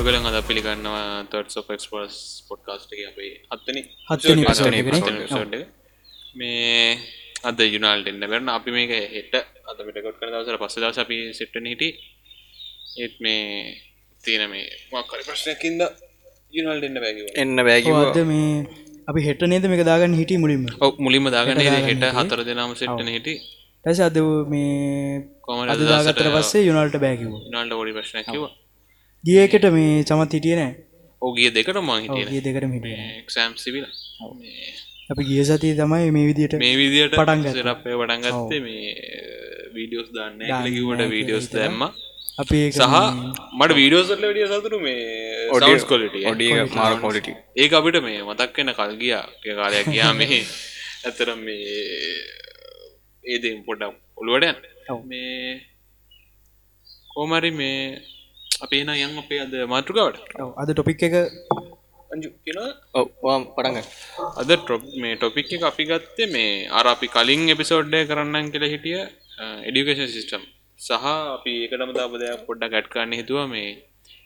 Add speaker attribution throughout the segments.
Speaker 1: ඔගලන් අද පිළිගන්නවා තොට් ෝක්ස් පොඩ්කාස්ටගේ අපේ හත්තන
Speaker 2: හත්වෙනි episode
Speaker 1: හත්තන
Speaker 2: එකනේ.
Speaker 1: episode එක. මේ අද යුනාල්ට එන්න කරන අපි මේක හෙට අද පිටකොට කන දවසර පස්ස දවස අපි සිට්ටන හිටි ඒත් මේ තියෙන මේ මක්කරි ප්‍රශ්නයකින්ද යුනාල්ට එන්න බැකිව
Speaker 3: එන්න බෑකිව
Speaker 2: අද මේ අපි හෙට නේද මේක දාගන්න හිටි මුලින්ම
Speaker 1: ඔක් මුලින්ම දාගන
Speaker 2: හෙට දාගන්න
Speaker 1: හෙට
Speaker 2: හිටියේ.
Speaker 1: හතර දෙනාම සිට්ටන හිටි
Speaker 2: ඇස අද මේ
Speaker 1: කොමට
Speaker 2: අද දාගත්තර පස්සේ යුනල්ට බෑකිව
Speaker 1: යුනාල්ට ෝඩි ප්‍රශ්නැකිව
Speaker 2: ගියකට මේ සමත් හිටිය නෑ
Speaker 1: ඔගේ දෙකට මං හිටිය
Speaker 2: ගිය දෙකට හිටිය
Speaker 1: එක්ෂෑම් සිවිල
Speaker 2: අපි ගිය සතිය තමයි මේ විදියට
Speaker 1: මේ විදියට
Speaker 2: පටන් ගත්තා.
Speaker 1: සිරප්පය පටන්ගත්තේ මේ වීඩියෝස් දාන්න ලිවට
Speaker 2: නෑ
Speaker 1: වීඩියෝස්
Speaker 2: කියලා
Speaker 1: දැම්ම
Speaker 2: අපි ඒක
Speaker 1: සහ මට වීඩියෝසල විඩිය සතුරු මේ ඔඩියස් කොලිටිය
Speaker 3: ඔඩිය මාර කොලිටි
Speaker 1: ඒක අපිට මේ මතක් වෙන කල් ගියා ඒ කාලයක් ගියා මේ ඇතර මේ ඒදම් පොඩම් ඔළුවට
Speaker 2: ඔව්.
Speaker 1: යන්න මේ කෝමරි මේ අපේ න යන් අපේ අද මාතෘකාවට
Speaker 2: ඔව්, අද ටොපික් එක
Speaker 1: අජු කියෙනවා
Speaker 3: ඔවාම් පටග
Speaker 1: අද ටොප් මේ ටොපික් එක අපි ගත්තේ මේ අර අපි කලින් එපිසෝඩ්ඩය කරන්න කෙළ හිටිය එඩිකේෂන් සිිස්ටම් සහ අපි ඒකටම දාබදයක් පොඩ්ඩ ගැට්කාන්න හිතුව මේ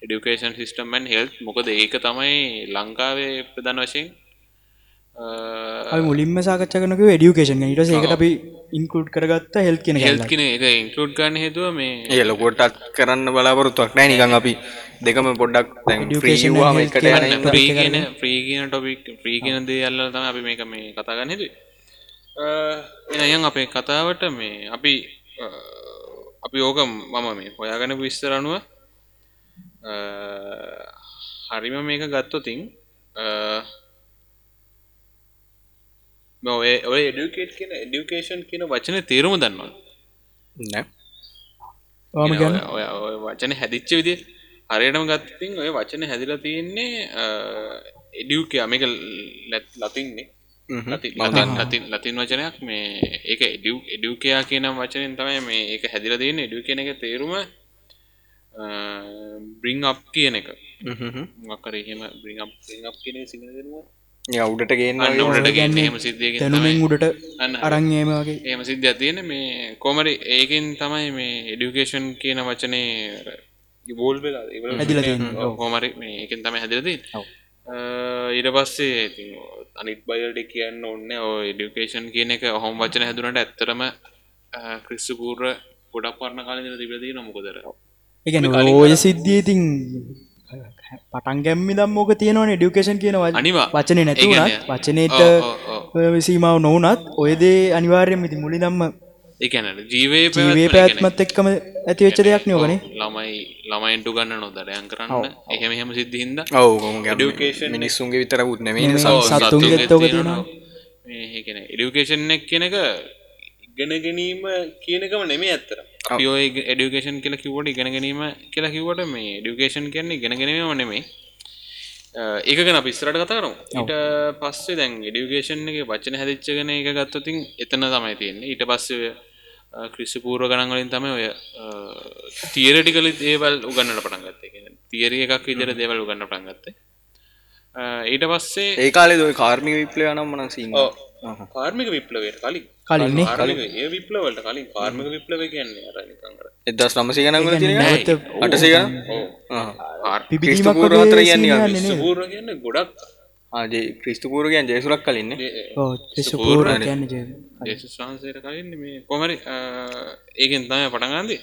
Speaker 1: එඩිකේෂන් සිිස්ටම්මන් හෙල් මොකද ඒක තමයි ලංකාවේ ප්‍රධන වශයෙන්
Speaker 2: අපි මුලින්ම සාකච්ඡා කරනක ඩියුකේෂන් ඊට ඒකට අපි ඉන්කලුඩ් කරගත්ත හෙල් කෙන
Speaker 1: හෙල්ත් කින එක ඉන්කලුඩ් ගන්න හේතුව මේ
Speaker 3: ඒ ලොකොටත් කරන්න බලාපොරොත්තුවක් නෑ නිකං අපි දෙකම පොඩ්ඩක් දැන්
Speaker 2: Education
Speaker 3: ්‍රීවාම
Speaker 2: and
Speaker 3: එකට
Speaker 2: health
Speaker 3: යන
Speaker 2: care.
Speaker 1: ප්‍රීගෙන ප්‍රීගෙන ටොපික් ප්‍රීගෙන දේ අල්ල තම අපි මේක මේ කතාගන්න තු එනයන් අපේ කතාවට මේ අපි අ, අපි ඕක මම මේ හොයාගන විස්තර අනුව අ, හරිම මේක ගත්තොතින් ඔය ඔය ඩියුකේට් කියන ඩියුකේෂන් කියන වචන තේරුම දන්නවා
Speaker 3: නෑ
Speaker 2: වාම ගැන
Speaker 1: ඔය- ඔය ඔය වචන හැදිච්ච විදි හරියටම ගත්තින් ඔය වචන හැදිල තියෙන්නේ එඩියක අමික ලතින්නේ
Speaker 3: හ්ම්.
Speaker 1: ලති- ලතින්- ලතින් ලතින් වචනයක් මේ ඒක එඩිය් එඩියකයා කියනම් වචනෙන් තමයි මේ ඒක හැදිල තියන්නේ එඩිය කියන එක තේරුම බ්‍රිං අප් කියන එක
Speaker 3: හ්ම් හ්ම්.
Speaker 1: මකර එහෙම බ්‍රිං බ්‍රිං අප් කියන සිග දෙනවා
Speaker 3: ඒ අවුඩට ගේන්න
Speaker 1: අන්න උඩට ගන්න එහෙම සිද්ධිය
Speaker 2: තැනුමෙන් උඩට
Speaker 1: අන්න හරි.
Speaker 2: අරංයම වගේ
Speaker 1: ඒම සිද්ධ තියෙන මේ කෝමරි ඒකෙන් තමයි මේ එඩිකේෂන් කියන වචනය ඉබෝල් වෙලා
Speaker 2: හැදිලා තියෙන්නේ,
Speaker 1: හෝමරි ඒකෙන් තම හැදිලති ඉට පස්සේ ඉතින් අනිත් බයිල්ට කියන්න ඔන්න එඩිකේෂන් කියන එක හොම වචන හැදුනට ඇත්තරම ක්‍රිස්සු පූර්ර ගොඩක් පරණ කාල තිබලදී නොමුකදර
Speaker 2: එකන ඕය සිද්ධිය ඉතින් පටන් ගැම්මි දම්මෝක තියෙනවන ඩියුකේෂන් කියන වච-
Speaker 1: අනිවා.
Speaker 2: වචනේ නැතිවුණත් වචනයට විසීමාව නොවනත් ඔයදේ අනිවාර්යම ඉති මුලි දම්ම
Speaker 1: එකන ජීවේ
Speaker 2: ජීවේ පැත්මත් එක්කම ඇතිවෙච්ච දෙයක් නයෝගන
Speaker 1: ළමයි ළමයින්ට ගන්න නොදරයන් කරන්න එහෙම එහෙම සිද්ධහින්ද
Speaker 3: ඔවුම මිනිස්සුන්ගේ විතර ුත් නෙමේ
Speaker 2: සත්තුන්ගේ තෝක තියෙනවා.
Speaker 1: ඒකන එඩියුකේෂන් එක් කියන එක ඉගෙන ගැනීම කියනකම නෙමේ ඇත්තර අපි ඔය එඩියුකේෂන් කියලා කිවට ඉගෙන ගැනීම කියලා කිවට මේ ඩියුකේෂන් කියන්නේ ඉගෙන ගැනීම නෙමේ ඒක ගැන පිස්රට කතාරම් ඊට පස්සේ දැන් එඩියුකේෂන් එක වචන හැදිච්චගෙන එක ගත්තතින් එතන තමයි තියෙන්නේ ඊට පස්සේ ක්‍රිස්සිපූර්ව ගණන්ගලින් තමයි ඔය තියරටිකලි දේවල් උගන්නට පටන් ගත්තේ තියරිය එකක් විදර දේවල් උගන්න පටන් ගත්තේ අ, ඊට පස්සේ
Speaker 3: ඒ කාලේ දොයි කාර්මි විප්ලය නම් මන සිංහ
Speaker 1: කාර්මික විප්ලවයට කලින්
Speaker 2: කලින්නේ
Speaker 1: කාර්මික ඒ විප්ලවලට කලින් කාර්මික විප්ලව කියන්නේ අර නිකන් අර
Speaker 3: එදස් නමසි ගනන් කර
Speaker 1: නෑ,
Speaker 3: තින
Speaker 1: ඒක
Speaker 3: අටසික
Speaker 1: කාර්-
Speaker 2: පිබිදීමක්
Speaker 3: ක්‍රිස්තුපූර්ව
Speaker 2: වගේ
Speaker 3: අතර යන්නේ
Speaker 2: සීනයක්
Speaker 3: යන්නේ.
Speaker 2: නේ නේද?
Speaker 1: සුපූර්ව කියන්නේ ගොඩක්
Speaker 3: ආජේ ක්‍රිස්තුපූරගයන් ජයසුරක් කලින්න
Speaker 1: ඒ- ඒ
Speaker 2: ඔව්, ක්‍රිස්තු පූර්ව කියන්නේ ජය.
Speaker 1: ජේසුස් වහන්සේට කලින් මේ කොමරි අ, ඒකෙන් තමයි පටන්ගන්දි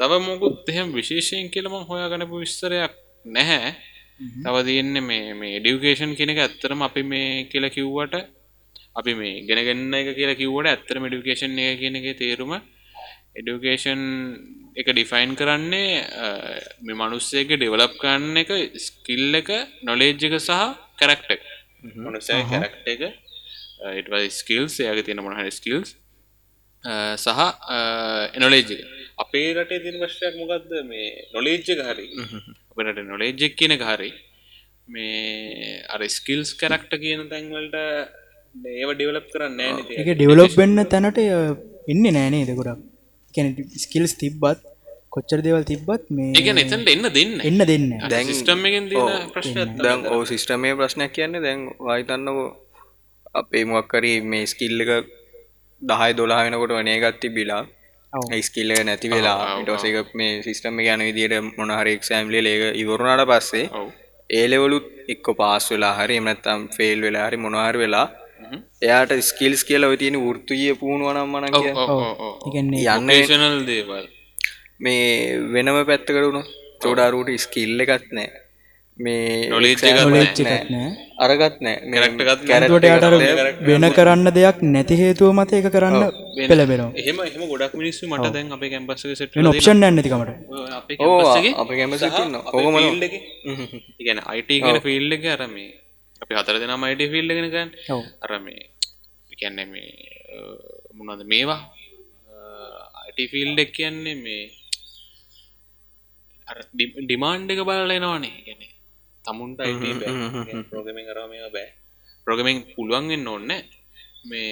Speaker 1: තව මොකුත් එහෙම විශේෂයෙන් කියලම හොයාගනපු විස්තරයක් නැහැ තව තියෙන්න මේ මේ ඩියුකේෂන් කෙනෙක ඇත්තරම අපි මේ කියල කිව්වට අපි මේ ගෙනගන්න එක කියලා කිව්වට ඇත්තර මඩිකේෂන් එක කියන එක තේරුම එඩිකේෂන් එක ඩිෆයින් කරන්නේ අ, මේ මනුස්සයක ඩෙවලප් කරන්න එක ස්කිල් එක නොලේජ් එක සහ කැරක්ටක් මනුසය කැරක්ට එක ඉටවයි ස්කල්ස් යග තියෙන මොහරි ස්කල්ස් සහ එනොලේජක අපේ රටේ තින වශ්‍යයක් මොකක්ද මේ නොලේජ්ජක හරි අපට නොලේජෙක් කියන එක හරි මේ අර ස්කල්ස් කැරක්ට කියන තැන්වලට ඒව ඩිවලප් කරන්න
Speaker 2: ඒක
Speaker 1: නෑ
Speaker 2: ඩෙවලොප් වෙන්න තැනට අ, එන්නේ නෑනේ දෙකොඩක් කැන ස්කිල්ස් තිබ්බත් කොච්චර දෙවල් තිබ්බත් මේ
Speaker 1: එක එතන්ට එන්න දෙන්න
Speaker 2: එන්න දෙන්න
Speaker 1: සිිස්ටම් එකෙන් තියෙන ප්‍රශ්න
Speaker 3: දැන් ඕ සිිස්ටමේ ප්‍රශ්නයක් කියන්නේ දැන් වහිතන්නකෝ අපේ මොක්කරී මේ ස්කිල්ල එක දහයි දොලා වෙනකොට වනයගත්ති බිලා
Speaker 2: ඔව්.
Speaker 3: ස්කිල්ල නැති වෙලා ටෝසක මේ සිිස්ටම යන විදිට මොනහරි එක්ෂෑම්ලි ලේක ඉවරුණට පස්සේ
Speaker 1: ඔව්
Speaker 3: ඒලෙවලුත් එක්ක පාස් වෙලා හරි එමනත්තම් ෆෙල් වෙලා හරි මොනහර වෙලා එයාට ස්කිල්ස් කියලා ඔය තියෙන වෘත්තුජය පුහුණුවනම් මන කිය
Speaker 1: ඔව් ඔව්
Speaker 2: ඒකන්නේ
Speaker 3: යන්න
Speaker 1: ඔකේෂනල් දේවල්
Speaker 3: මේ වෙනම පැත්තකට වුණු චෝඩාරූට ස්කිල්ල එකත් නෑ මේ
Speaker 1: Knowledge එකක්
Speaker 3: exam
Speaker 1: Knowledge
Speaker 2: එකක් නෑ.
Speaker 3: අරගත් නෑ
Speaker 1: Character එකත් නෑ.
Speaker 3: කැරට
Speaker 2: ඒකට යාට අර වෙන කරන්න දෙයක් නැති හේතුව මත ඒක කරන්න පෙළබෙනවා
Speaker 1: එහෙම එහෙම ගොඩක් මිනිස්සු මට දැන් අපේ කැම්පස් එකේ සෙට්
Speaker 2: වෙන ඔප්ෂන් යන්න නැතිකමට
Speaker 1: අපේ
Speaker 3: ඕ
Speaker 1: කැම්පස් එකේ
Speaker 3: අප කැමසි
Speaker 1: ඔහොම
Speaker 3: ඔහොම
Speaker 1: ඉගෙන අයිට කියන ෆිල්ඩ එක අර මේ අපි හතර දෙනා අයිට ෆිල්ඩ ගෙන ගන්න
Speaker 2: ඔව්
Speaker 1: අර මේ කියන්නේ මේ මොනද මේවා අයිට ෆිල්ඩ් එක කියන්නේ මේ අර ඩිමාන්ඩ් එක බලලා එනවනේ ගැන තමුන්ට අයිට ප්‍රෝගමින් කරම මේ බෑ ප්‍රෝගමින් පුළුවන්ගෙන් ඕන්න මේ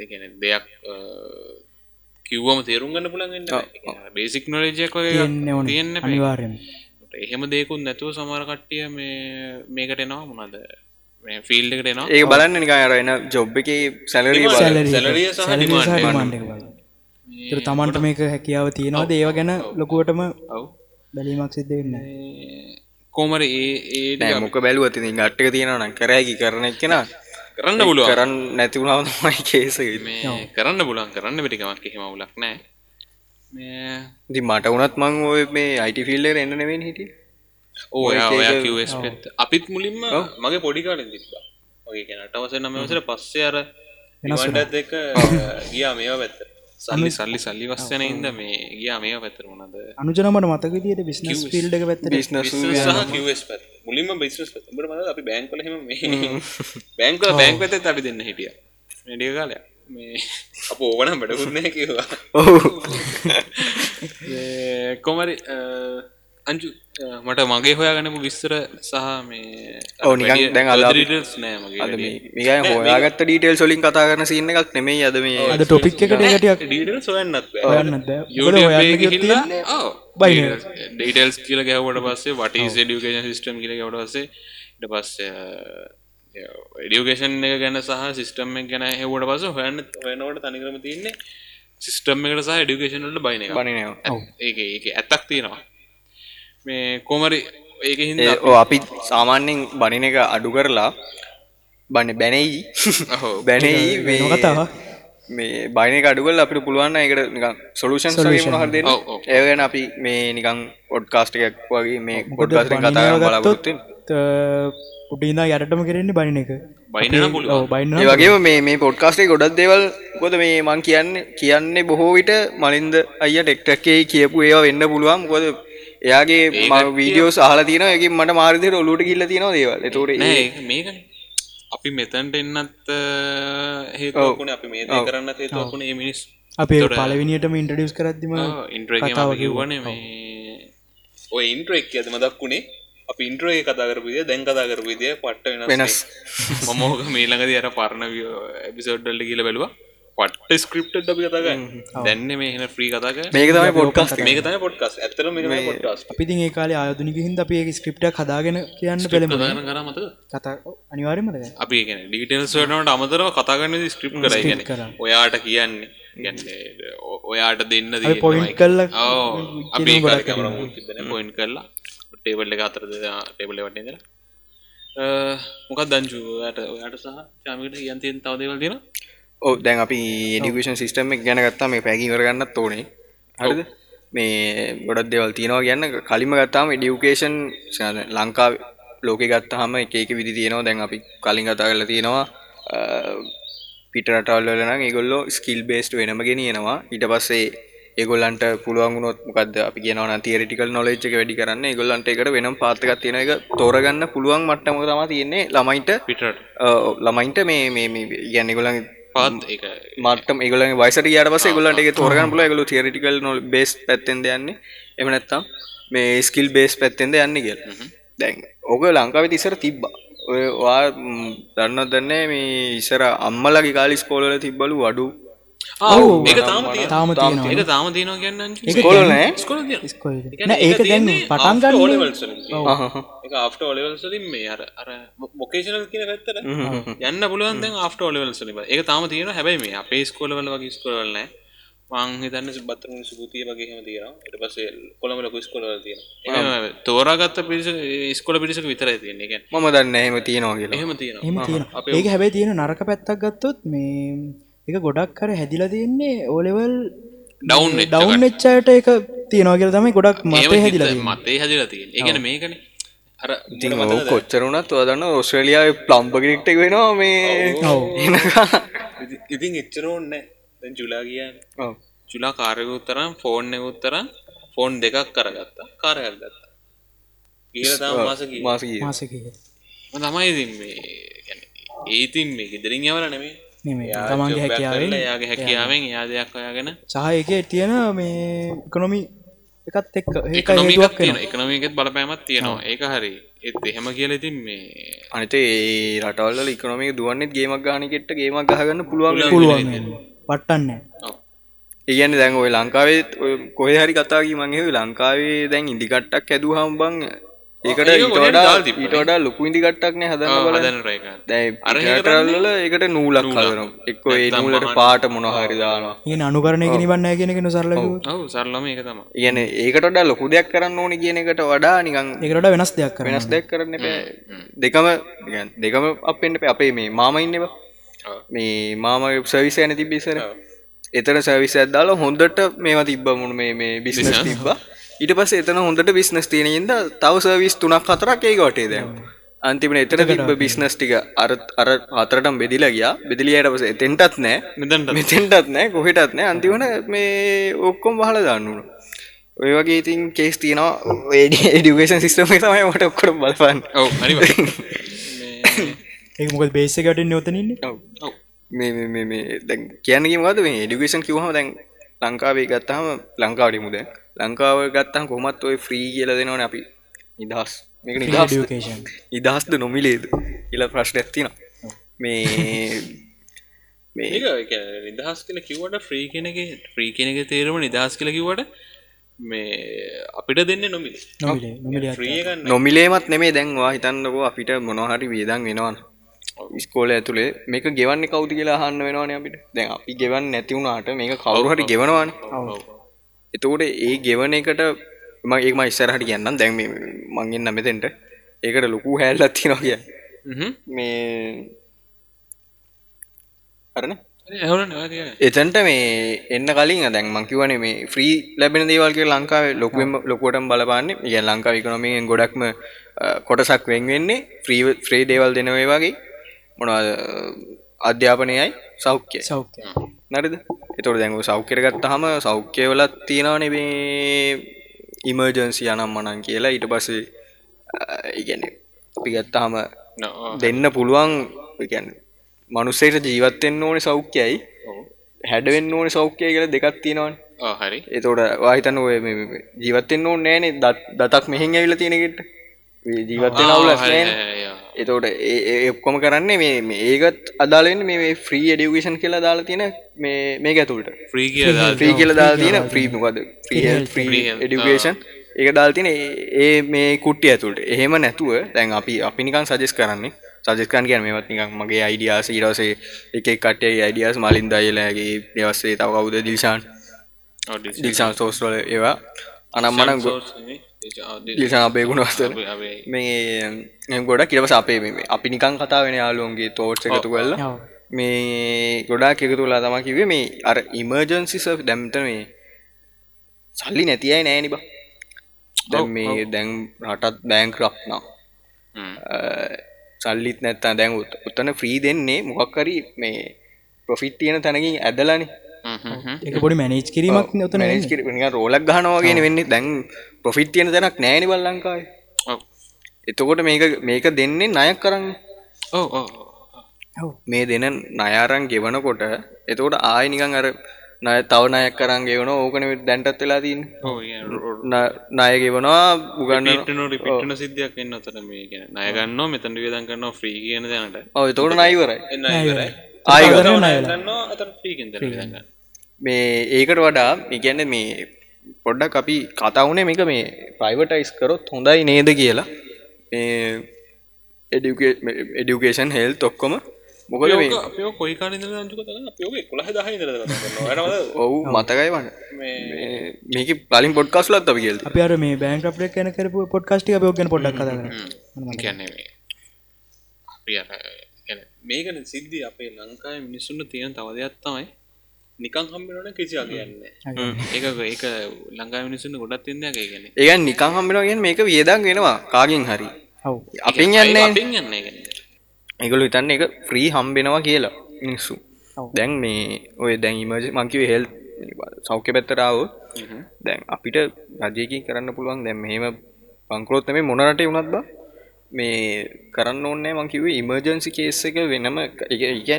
Speaker 1: දෙගැන දෙයක් අ, කිව්වම තේරුම් ගන්න පුළන්ගන්න බේසික් නොලජයක් වගේ
Speaker 2: තියෙන්න ඕන
Speaker 1: තියන්න
Speaker 2: අනිවාර්යෙන්
Speaker 1: එහෙම දෙකුත් නැතුව සමහර කට්ටිය මේ මේකට එනවා මොනද මේ ෆිල්ඩ් එකට එනවා
Speaker 3: ඒක බලන්න නිකාර එන ජොබ් එක සැලරී බල
Speaker 1: salary සහ demand එක.
Speaker 2: තර තමන්ට මේක හැකියාව තියෙනවාද ඒව ගැන ලොකුවටම
Speaker 1: ඔව්
Speaker 2: බැලීමක් සිද්ධ වෙන්න
Speaker 1: මේ කොහමර ඒ ඒ ටික
Speaker 3: මොක බැලුවති ගට්ටක තියෙනවන කරැකි කරන එක්කෙන
Speaker 1: කරන්න පුළුවන්
Speaker 3: කරන්න නැතිවුණාවමයි කේසගන්න
Speaker 1: මේ කරන්න පුළුවන් කරන්න පිටිකමක් එහෙම උලක් නෑ මේ
Speaker 3: දි මට වුනත් මං ඔය මේ අයිටි ෆිල්ඩර් එන්නනෙවෙන් හිටිය
Speaker 1: ඕ කිස් පෙත් අපිත් මුලින්ම මගේ පොඩිකාලෙන් තිබ්බා ඔගේ කෙනට අවස නමවසට පස්සේ අර ඩත් එක ගියා මේවා පැත්ත සල්ලි සල්ලි සල්ලි වස්සන ඉද මේ ගියා මේ පැතර මොනද
Speaker 2: අනුජනමට මතක දිට බිස්නස් ෆිල්ඩ එක පැත්තට
Speaker 3: බිස්නසු
Speaker 1: කිස් පැත් මුලින්ම බිස්නස් පැත් බට මද අපි බැංකල හෙම බැංක බැංක ඇත අපි දෙන්න හිටිය ඩිය කාලය මේ අප ඕවනම් බඩකුන්න කිවා
Speaker 3: ඔහු
Speaker 1: ඒ කොමරි අ, අංජු අ, මට මගේ හොයාගනපු විස්තර සහ මේ
Speaker 3: ඔව් නිකන් දැන් අද අපි-
Speaker 1: ඩීටල්ස් නෑ මගේ
Speaker 3: අද මේ මේකයි හොයාගත්ත ඩීටෙල් සොලින් කතා කරන සින්න එකක් නෙමෙයි අද මේ
Speaker 2: අද ටොපික් එකට ඒකටයක්
Speaker 1: ඩීටල්ස් හොයන්නත්
Speaker 2: හොයන්නත් බෑ. ඔයගොල්ලෝ
Speaker 1: බෑ
Speaker 2: හොයන්න ගියොත්
Speaker 1: ගිහිල්ලා
Speaker 2: බයින.
Speaker 1: ඩීටල්ස් කියලා ගැහුවට පස්සේ what is education system කියලා ගැහුවට පස්සේ ඊට පස්සේ එඩියුකේෂන් එක ගැන සහ සිස්ටම් එක ගැන හෙව්වට පස්සේ හොයන්න හොයනකොට තනිකරම තියෙන්නේ සිස්ටම් එකට සහ එඩියුකේෂන් වලට බයින එක
Speaker 3: පනිනවා
Speaker 1: ඒක ඒක ඇත්තක් තියෙනවා මේ කොමරි ඒක හින්ද
Speaker 3: ඒ ඔව් අපි සාමාන්‍යයෙන් බනින එක අඩු කරලා බන්න බැනෙයි
Speaker 1: හෝ
Speaker 3: බැනෙයි මේ
Speaker 2: කතාව
Speaker 3: මේ බයින එක අඩු කරලා අපිට පුළුවන් නම් ඒකට නිකන් සොලූෂන්ස් වගේ මොනවා හරි දෙන්න
Speaker 1: ඔව්, ඔව්.
Speaker 3: ඒ ගැන අපි මේ නිකන් පොඩ්කාස්ට් එකක් වගේ මේ පොඩ්කාස්ට් එකෙන් කතා කරන්න
Speaker 2: ගත්තොත්
Speaker 3: බලාපොරොත්තු වෙන්නේ.
Speaker 2: උඩින්දා යටටම කෙරෙන්නේ බනින එක
Speaker 1: බයින්න පුළුව
Speaker 2: ඔව් බයින්න
Speaker 3: ඒ වගේ මේ මේ පොඩ්කාස්ටේ ගොඩක් දේවල් කොද මේ මං කියන්නේ කියන්නේ බොහෝ විට මලින්ද අයිය ටෙක්ටක්කේ කියපු ඒවා වෙන්න පුළුවන් කොද එයාගේ වීඩියෝ සහලා තියෙන එක මට මාරිදිර ඔලුට කිල්ල තියෙන දේවල් එතෝට
Speaker 1: නෑ ඒක මේකනේ අපි මෙතැන්ට එන්නත් හේතුවකුණ අපි මේ දේ කරන්න හේතුවකුණ ඒ මිනිස්
Speaker 2: අපේ පලවිනියටම ඉන්ටඩියස් කරද්දිම
Speaker 1: ඉන්ට්‍රේගම කිව්වන මේ ඔය ඉන්ට්‍රෙක් ඇතම දක්ුණේ අපි ඉන්ට්‍රේ කතා කරපුදිය දැන් කතා කරපුදිය පට්ට
Speaker 3: වෙනස්.
Speaker 1: මමෝක මේලඟද අර පරණ එපිසෝඩ්ඩල්ල කියල බැලවා පට්ට ස්ක්‍රප්ට අපි කතාග දැන්න මේ එන ්‍රී කතාක
Speaker 3: මේක තමයි පොඩ්කාස්ට
Speaker 1: මේක තන පොට්කස් ඇතර මේ පොට්ස්
Speaker 2: අපිති ඒ කාලේ ආයුදුනිකිහින්ද අප ඒ ස්ක්‍රප්ට හදාගෙන කියන්න පෙළම
Speaker 1: ප්‍රධාන කරමත
Speaker 2: කතා අනිවාර්යමද
Speaker 1: අපි ගැන ඩිටල්ස් වනට අමතරව කතාගන්න ස්ක්‍රප් කරයි ගැන
Speaker 2: කරා.
Speaker 1: ඔයාට කියන්නේ ගැන්නේ ඔ- ඔයාට දෙන්න දී
Speaker 2: පොයින්ට් කල්ල
Speaker 1: අපි කර පොයින් කරලා ටේබල්ල එක අතර දෙදා ටේබල වටේ දර මොකක් දංචු ඔයාට ඔයාට සහ චාමිකට යන්තයෙන් තවදේවල් දෙෙන
Speaker 3: ඕ දැන් අපි ඩිකෂන් සිිටම එක ගැනගත්තා මේ පැකි කරගන්න තෝනේ හරිද මේ ගොඩක් දෙවල් තියෙනවා ගැන්න කලිම ගත්තාම ඩියුකේෂන් ලංකා ලෝක ගත්තහම එකක විදි තියෙනවා දැන් අපි කලින් කතා කරලා තියෙනවා පිටරටවල්ලන ගොල්ලෝ ස්කිල් බේස්ට වෙනම ගෙනියනවා ඊට පස්සේ ඒගොල්ලන්ට පුළුවන්ගුණොත් මොකද අපි කියනවන තිරිටිකල් නොලෙච් එක වැඩි කරන්න ගොල්ලන්ට එකට වෙනම් පාතකක් තියෙන එක තෝරගන්න පුළුවන් මට්ටම තම තියෙන්නේ ළමයින්ට
Speaker 1: පිටට
Speaker 3: ඔව්, ළමයින්ට මේ මේ මේ ගැන්න ගොලන්
Speaker 1: පාත් එක
Speaker 3: මටම ගොල වයිසට යාට පස ගොලන්ට එක තෝරගන් පුල ගොල තිරිටිකල් නො බේස් පැත්තෙන්ද යන්නේ එමනැත්තම් මේ ස්කිල් බේස් පැත්තෙන්ද යන්න කියල දැන් ඕක ලංකාවේ තිසර තිබ්බා ඔය වා දන්න දන්නේ මේ ඉසර අම්මලගේ කාලි ස්කෝලල තිබ්බලු වඩු
Speaker 1: ඒක තාම තියෙනවා.
Speaker 2: තාම තියෙනවා
Speaker 1: ඒක තාම තියෙනවා කියන්න
Speaker 3: කොලනෑ
Speaker 1: ස්කොල
Speaker 2: ස්කොල් නෑ ඒක දැන් පටන් ගන්න
Speaker 1: එක ආෆ්ට ඔලවල්සලින් මේ අර අර මොකේෂනල් කියන පැත්තර යන්න පුළුවන් ආට ඔලවල්සලිම එක තාම තියෙන හැබයි මේ අපේ ස්කෝලවල වගේ ස්කොලන මංහිතන්න බත්තමින් සුපතිය වගේහම තියෙනවා එට පසේ කොළම ලොකු ස්කොලල තියෙන තෝරාගත්ත පිරිස ස්කොල පිරිසක විතරයි තියෙන එක
Speaker 3: මම දන්න එහෙම තියෙනවා කියලා
Speaker 1: එහෙම තියෙනවා
Speaker 2: එහෙම තියෙනවා ඒක හැබැයි තියෙන නරක පැත්තක් ගත්තොත් මේ එක ගොඩක් කර හැදිලා තියෙන්නේ ඕලෙවල්
Speaker 1: ඩවුන්
Speaker 2: ඩවුන් එච්චායට එක තියෙනවා කියලා තමයි ගොඩක් මතේ හැදිලා තියෙන්නේ
Speaker 1: මතේ හදලා තියෙන ඒගැන මේකන අර
Speaker 3: ඉතින් ඔව් කොච්චර වුණත් ඔයා දන්න ඔස්ට්‍රේලියාවේ ප්ලම්බ ක්‍රිකට් එක වෙනවා මේ
Speaker 2: ඔව්
Speaker 1: ඉති- ඉතින් එච්චරෝන්න දැන් ජුලා කියන්න
Speaker 3: ඔව්.
Speaker 1: චුලා කාරයකුත්තරම් ෆෝර්න් එකකුත්තරම් ෆෝන් දෙකක් කරගත්තා කාරයල් ගත්තා ඉහලතාව මාසක
Speaker 3: මාස ගියේ.
Speaker 2: මාසික
Speaker 1: තමයි ඉතින් මේ يعني ඒතින් මේ ගෙදරින් යවල නෙමේ
Speaker 2: නෙමෙයි තමන්ගේ හැකියාවෙන්
Speaker 1: යාගේ හැකියාවෙන් යා දෙයක් ඔයාගෙන
Speaker 2: සහ ඒකේ තියෙන මේ ඉකොනොමි එකත් එක්ක ඒක
Speaker 1: එකනොමිකක්
Speaker 2: හේතුවක්
Speaker 1: තියෙන
Speaker 2: වෙනවා
Speaker 1: එකනොමිකත් බලපෑමත් තියෙනවා ඒක හරි ඒත් එහෙම කියල ඉතින් මේ
Speaker 3: අනිත ඒ රටවල්ල ඉකොනොමික දුවන්නෙත් ගේමක් ගානකෙට්ට ගේමක් ගහගන්න පුළුවන්
Speaker 2: පුළුවන් වෙනවා. වට්ටන්නේ
Speaker 1: ඔව්.
Speaker 3: ඒගන්න දැන් ඔය ලංකාවේත් කොහ හරි කතාගේ මගේ ලංකාවේ දැන් ඉදිකට්ටක් ඇදූ හම්බං ඒකට
Speaker 1: ඒක
Speaker 3: ඊට
Speaker 1: ගොඩක්
Speaker 3: වඩා
Speaker 1: දාලා තිබ්බනේ.
Speaker 3: ඊට වඩා ලොකු ඉදිකට්ටක්න හදන්න
Speaker 1: ඔව්,
Speaker 3: බල
Speaker 1: හදන රේක අර ඒක
Speaker 3: දැරල්ල ඒකට නූලක් කලරම් එක්කෝ ඒ නූලට පාට මොනහරිදානවා
Speaker 2: ඉගෙන අනුකරණය කිනිබන්නේ කියන එක සරල කිව්වොත්.
Speaker 1: ඔව් සරලම ඒක තම
Speaker 3: ඉගන ඒකට වඩා ලොකු දෙයක් කරන්න ඕනි කියන එකට වඩා නිකං
Speaker 2: ඒකට වඩා වෙනස් දෙයක් කරනවා
Speaker 3: වෙනස් දෙයක් කරන්න එපා. දෙකම يعني දෙකම අපෙන්ට අපේ මේ මාම ඉන්නවා මේ මාම සර්විස් යන තිබිසර එතන සර්විස් ඇදදාලා හොඳට මේවා තිබ්බ මුණ මේ මේ බිස්නස් තිබ්බා ඊට පස්සේ එතන හොඳට බිස්නස් තියෙනින්ද තව සර්විස් තුනක් හතරක් ඒක වටේ දැන් අන්තිමට එතන තිබ්බ බිස්නස් ටික අර අර හතරටම බෙදිලා ගියා බෙදලියට පස්සේ එතෙන්ටත් නෑ
Speaker 1: මෙතැන්ට
Speaker 3: මෙතෙන්ටත් නෑ කොහෙටත් නෑ අන්තිමට මේ ඔක්කොම් බහල දන්නුණු ඔය වගේ ඉතින් කේස් තියෙනවා ඩියුකේෂන් සිස්ටම තමයි මට ඔක්කොට බලපන්න
Speaker 1: ඔව් හරි
Speaker 2: ඒක මොකද බේස් එක යටින් යොතනින්නේ
Speaker 3: ඔව්.
Speaker 1: ඔව්
Speaker 3: මේ මේ- මේ මේ දැන් කියන්නගේමකද මේ ඩිකේෂන් කිවහම දැන් ලංකාවේ ගත්තහම ලංකාවඩිමුද ලංකාව ගත්තහම් කොමත් ඔය ෆ්‍රී කියල දෙනවන අපි නිදහස් මේක නිදහස්
Speaker 2: ඩියුකේෂන්
Speaker 3: නිදහස්ද නොමිලේද ඉල ප්‍රශ්න ඇත්තින මේ මේ
Speaker 1: ඒක ඒ කියන්නේ නිදහස් කියලා කිව්වට ෆ්‍රී කෙනගේ ෆ්‍රී කෙනගේ තේරම නිදහස් කියලා කිව්වට මේ අපිට දෙන්න නොමිල
Speaker 2: නොමිලේ නොමිලේ
Speaker 1: ්‍රී ගන්න
Speaker 3: නොමිලේමත් නෙමේ දැන්වා හිතන්නකෝ අපිට මොනහරි වේදන් වෙනවන ස්කෝල ඇතුළේ මේක ගෙවන්න කවුද කියලා හන්න වෙනවාන අපිට දැන් අපි ගෙවන්න නැතිවුණට මේක කවරුහට ගෙවනවාන එතකොට ඒ ගෙවන එකට ම ඒම ඉස්සරහට කියන්නම් දැන් මේ මංගෙන් නමතෙන්ට ඒකට ලොකු හැල්ලත් තිෙනවා කිය මේ අරන
Speaker 1: එහන නවතිය
Speaker 3: එතන්ට මේ එන්න කලින් දැන් මංකිවන මේ ෆ්‍රී ලැබෙන දේවල්ගේ ලංකාවේ ලොකුවම ලොකුවටම බලපාන්න ය ලංකා විකනොමෙන් ගොඩක්ම අ, කොටසක් වෙන් වෙන්නේ ්‍රී ්‍රේ දේවල් දෙනවේ වගේ මොන අධ්‍යාපනයයි සෞඛ්‍ය
Speaker 2: සෞඛ්‍ය
Speaker 3: නරිද එතොට දැඟ සෞඛ්‍යරගත් හම සෞඛ්‍යවලත් තියෙනවනේ ඉමර්ජන්සි යනම් මනන් කියලා ඊට පස්සේ ඉගැන අපි ගත්තාහම දෙන්න පුළුවන් ගැන මනුස්සේට ජීවත්තෙන් ඕනේ සෞඛ්‍යයි හැඩවෙන්න ඕනේ සෞඛ්‍යය කියලා දෙකක් තියෙනවන්
Speaker 1: හරි
Speaker 3: එතෝට වාහිතන ඔය මේ- මේ- මේ ජීවත්තෙන් ඕන නෑනේ දත්- දතක් මෙහෙන් ඇවිල තියෙනෙට ජීවත්තෙන් අවුල නෑනේ එතෝට එක්කොම කරන්නේ මේ මේ ඒකත් අදාලෙන් මේ ෆ්‍රී ඩියවේෂන් කියලා දාලා තියෙන මේ මේ ඇතුළට
Speaker 1: ෆ්‍රී කියලා
Speaker 3: ්‍රී කියල දා තියන ්‍රීමකද ඩියුකේෂන් එක දාල්තින ඒ මේ කුට්ටිය ඇතුළට එහෙම නැතුව දැන් අපි අපි නිකන් සජෙස් කරන්නේ සජස්කන් කියන මෙමත් නිකක් මගේ අයිඩියාස ඉරසේ එක කටේ අයිඩියස් මලින් දයලගේ දවස්සේ තව කවුද දිල්ෂාන් දිල්ෂාන් සෝස්වල ඒවා අනම්මන දිල්ෂාන් අපේ ගුණවස්තර මේ ගොඩ කියවස අපේ මේ අපි නිකන් කතා වෙන යාලුවන්ගේ තෝට්ස එකතු කල්ලා
Speaker 2: ඔව්.
Speaker 3: මේ ගොඩාක් එකතු වෙලා තමා කිවේ මේ අර ඉමර්ජන්සි සර් දැම්ට මේ සල්ලි නැතියි නෑනි බා දැන් මේ දැන් රටත් බෑංක් රක්නා සල්ලිත් නැත්තා දැන් උත්- උත්තන ෆ්‍රී දෙන්නේ මොකක්කරි මේ පොෆිට් තියෙන තැනකින් ඇදලනි
Speaker 2: ඒක පොඩි මැනේජ් කිරීමක් යොතන
Speaker 3: රෝලක් ගහනවාගෙන වෙන්නේ දැන් පොෆිට් තියෙන තැනක් නෑනි බල් ලංකායි එතකොට මේක මේක දෙන්නේ නයක් කරන්න
Speaker 1: ඕ ඕ
Speaker 2: Oh.
Speaker 3: මේ දෙන නයාරන් ගෙවනකොට එතකොට ආය නිකං අර නය තව නයක් කරන් ගෙවන ඕකන දැන්ටත් වෙලා තින් නය ගෙවනවා උගන්න
Speaker 1: ටනොට පිටන සිද්ධයක් එන්න අතර මේ ගැන නයගන්න මෙතැට වියදන් කරන්න ෆ්‍රී කියන දැනට
Speaker 3: ඔව එතකොට නයිවරයි
Speaker 1: එන්න ඉවරයි
Speaker 3: ආය
Speaker 1: ගන්න අත ්‍රීකෙන්ද ගන්න
Speaker 3: මේ ඒකට වඩා ඉගැන්න මේ පොඩ්ඩක් අපි කතාවනේ මේක මේ ප්‍රයිවටයිස් කරොත් හොඳයි නේද කියලා මේ එඩියුකේෂන් හෙල් තොක්කොම මොකද මේ
Speaker 1: අපෝ කොයි කාලඉදල රංචු කතන අපෝ කොළහ දහ ඉදර නවා
Speaker 3: ඔවු මතකයි වන්න මේක පලින් පොඩ්කාස්ලත් අපි කියල්ද
Speaker 2: අපි අර මේ බෑන් ්‍රප්ලක් කැන කරපු පොඩ්කාස්ටි අප ෝගෙන පොඩක් කර
Speaker 1: කියන්නේ මේ අපි අර يعني මේකන සිද්ධි අපේ ලංකාවේ මිනිස්සුන්ට තියෙන තව දෙයක් තමයි නිකන් හම්බෙනවනේ කිසියක් කියන්නේ ඒක ඒක ලංකාවේ මිනිස්සුන්ට ගොඩක් තියෙන දෙයක් ඒ කියන්නේ
Speaker 3: ඒගන් නිකං හම්බෙනගෙන් මේක වියදන් වෙනවා කාගෙන් හරි
Speaker 2: හව්
Speaker 3: අපින් යන්නේ
Speaker 1: අපින් යන්නේ කියන්නේ
Speaker 3: එකගොලු හිතන්න එක ෆ්‍රී හම්බෙනවා කියලා මිනිස්සු දැන් මේ ඔය දැන් ඉමජ මංකිව හෙල් සෞඛ්‍ය පැත්තරාව දැන් අපිට රජයකින් කරන්න පුළුවන් දැම් මෙහෙම පංකරොත් මේ මොනරට වුණත් බා මේ කරන්න ඕන්නෑ මංකිව ඉමර්ජන්සි කේස් එක වෙනම එක ඒ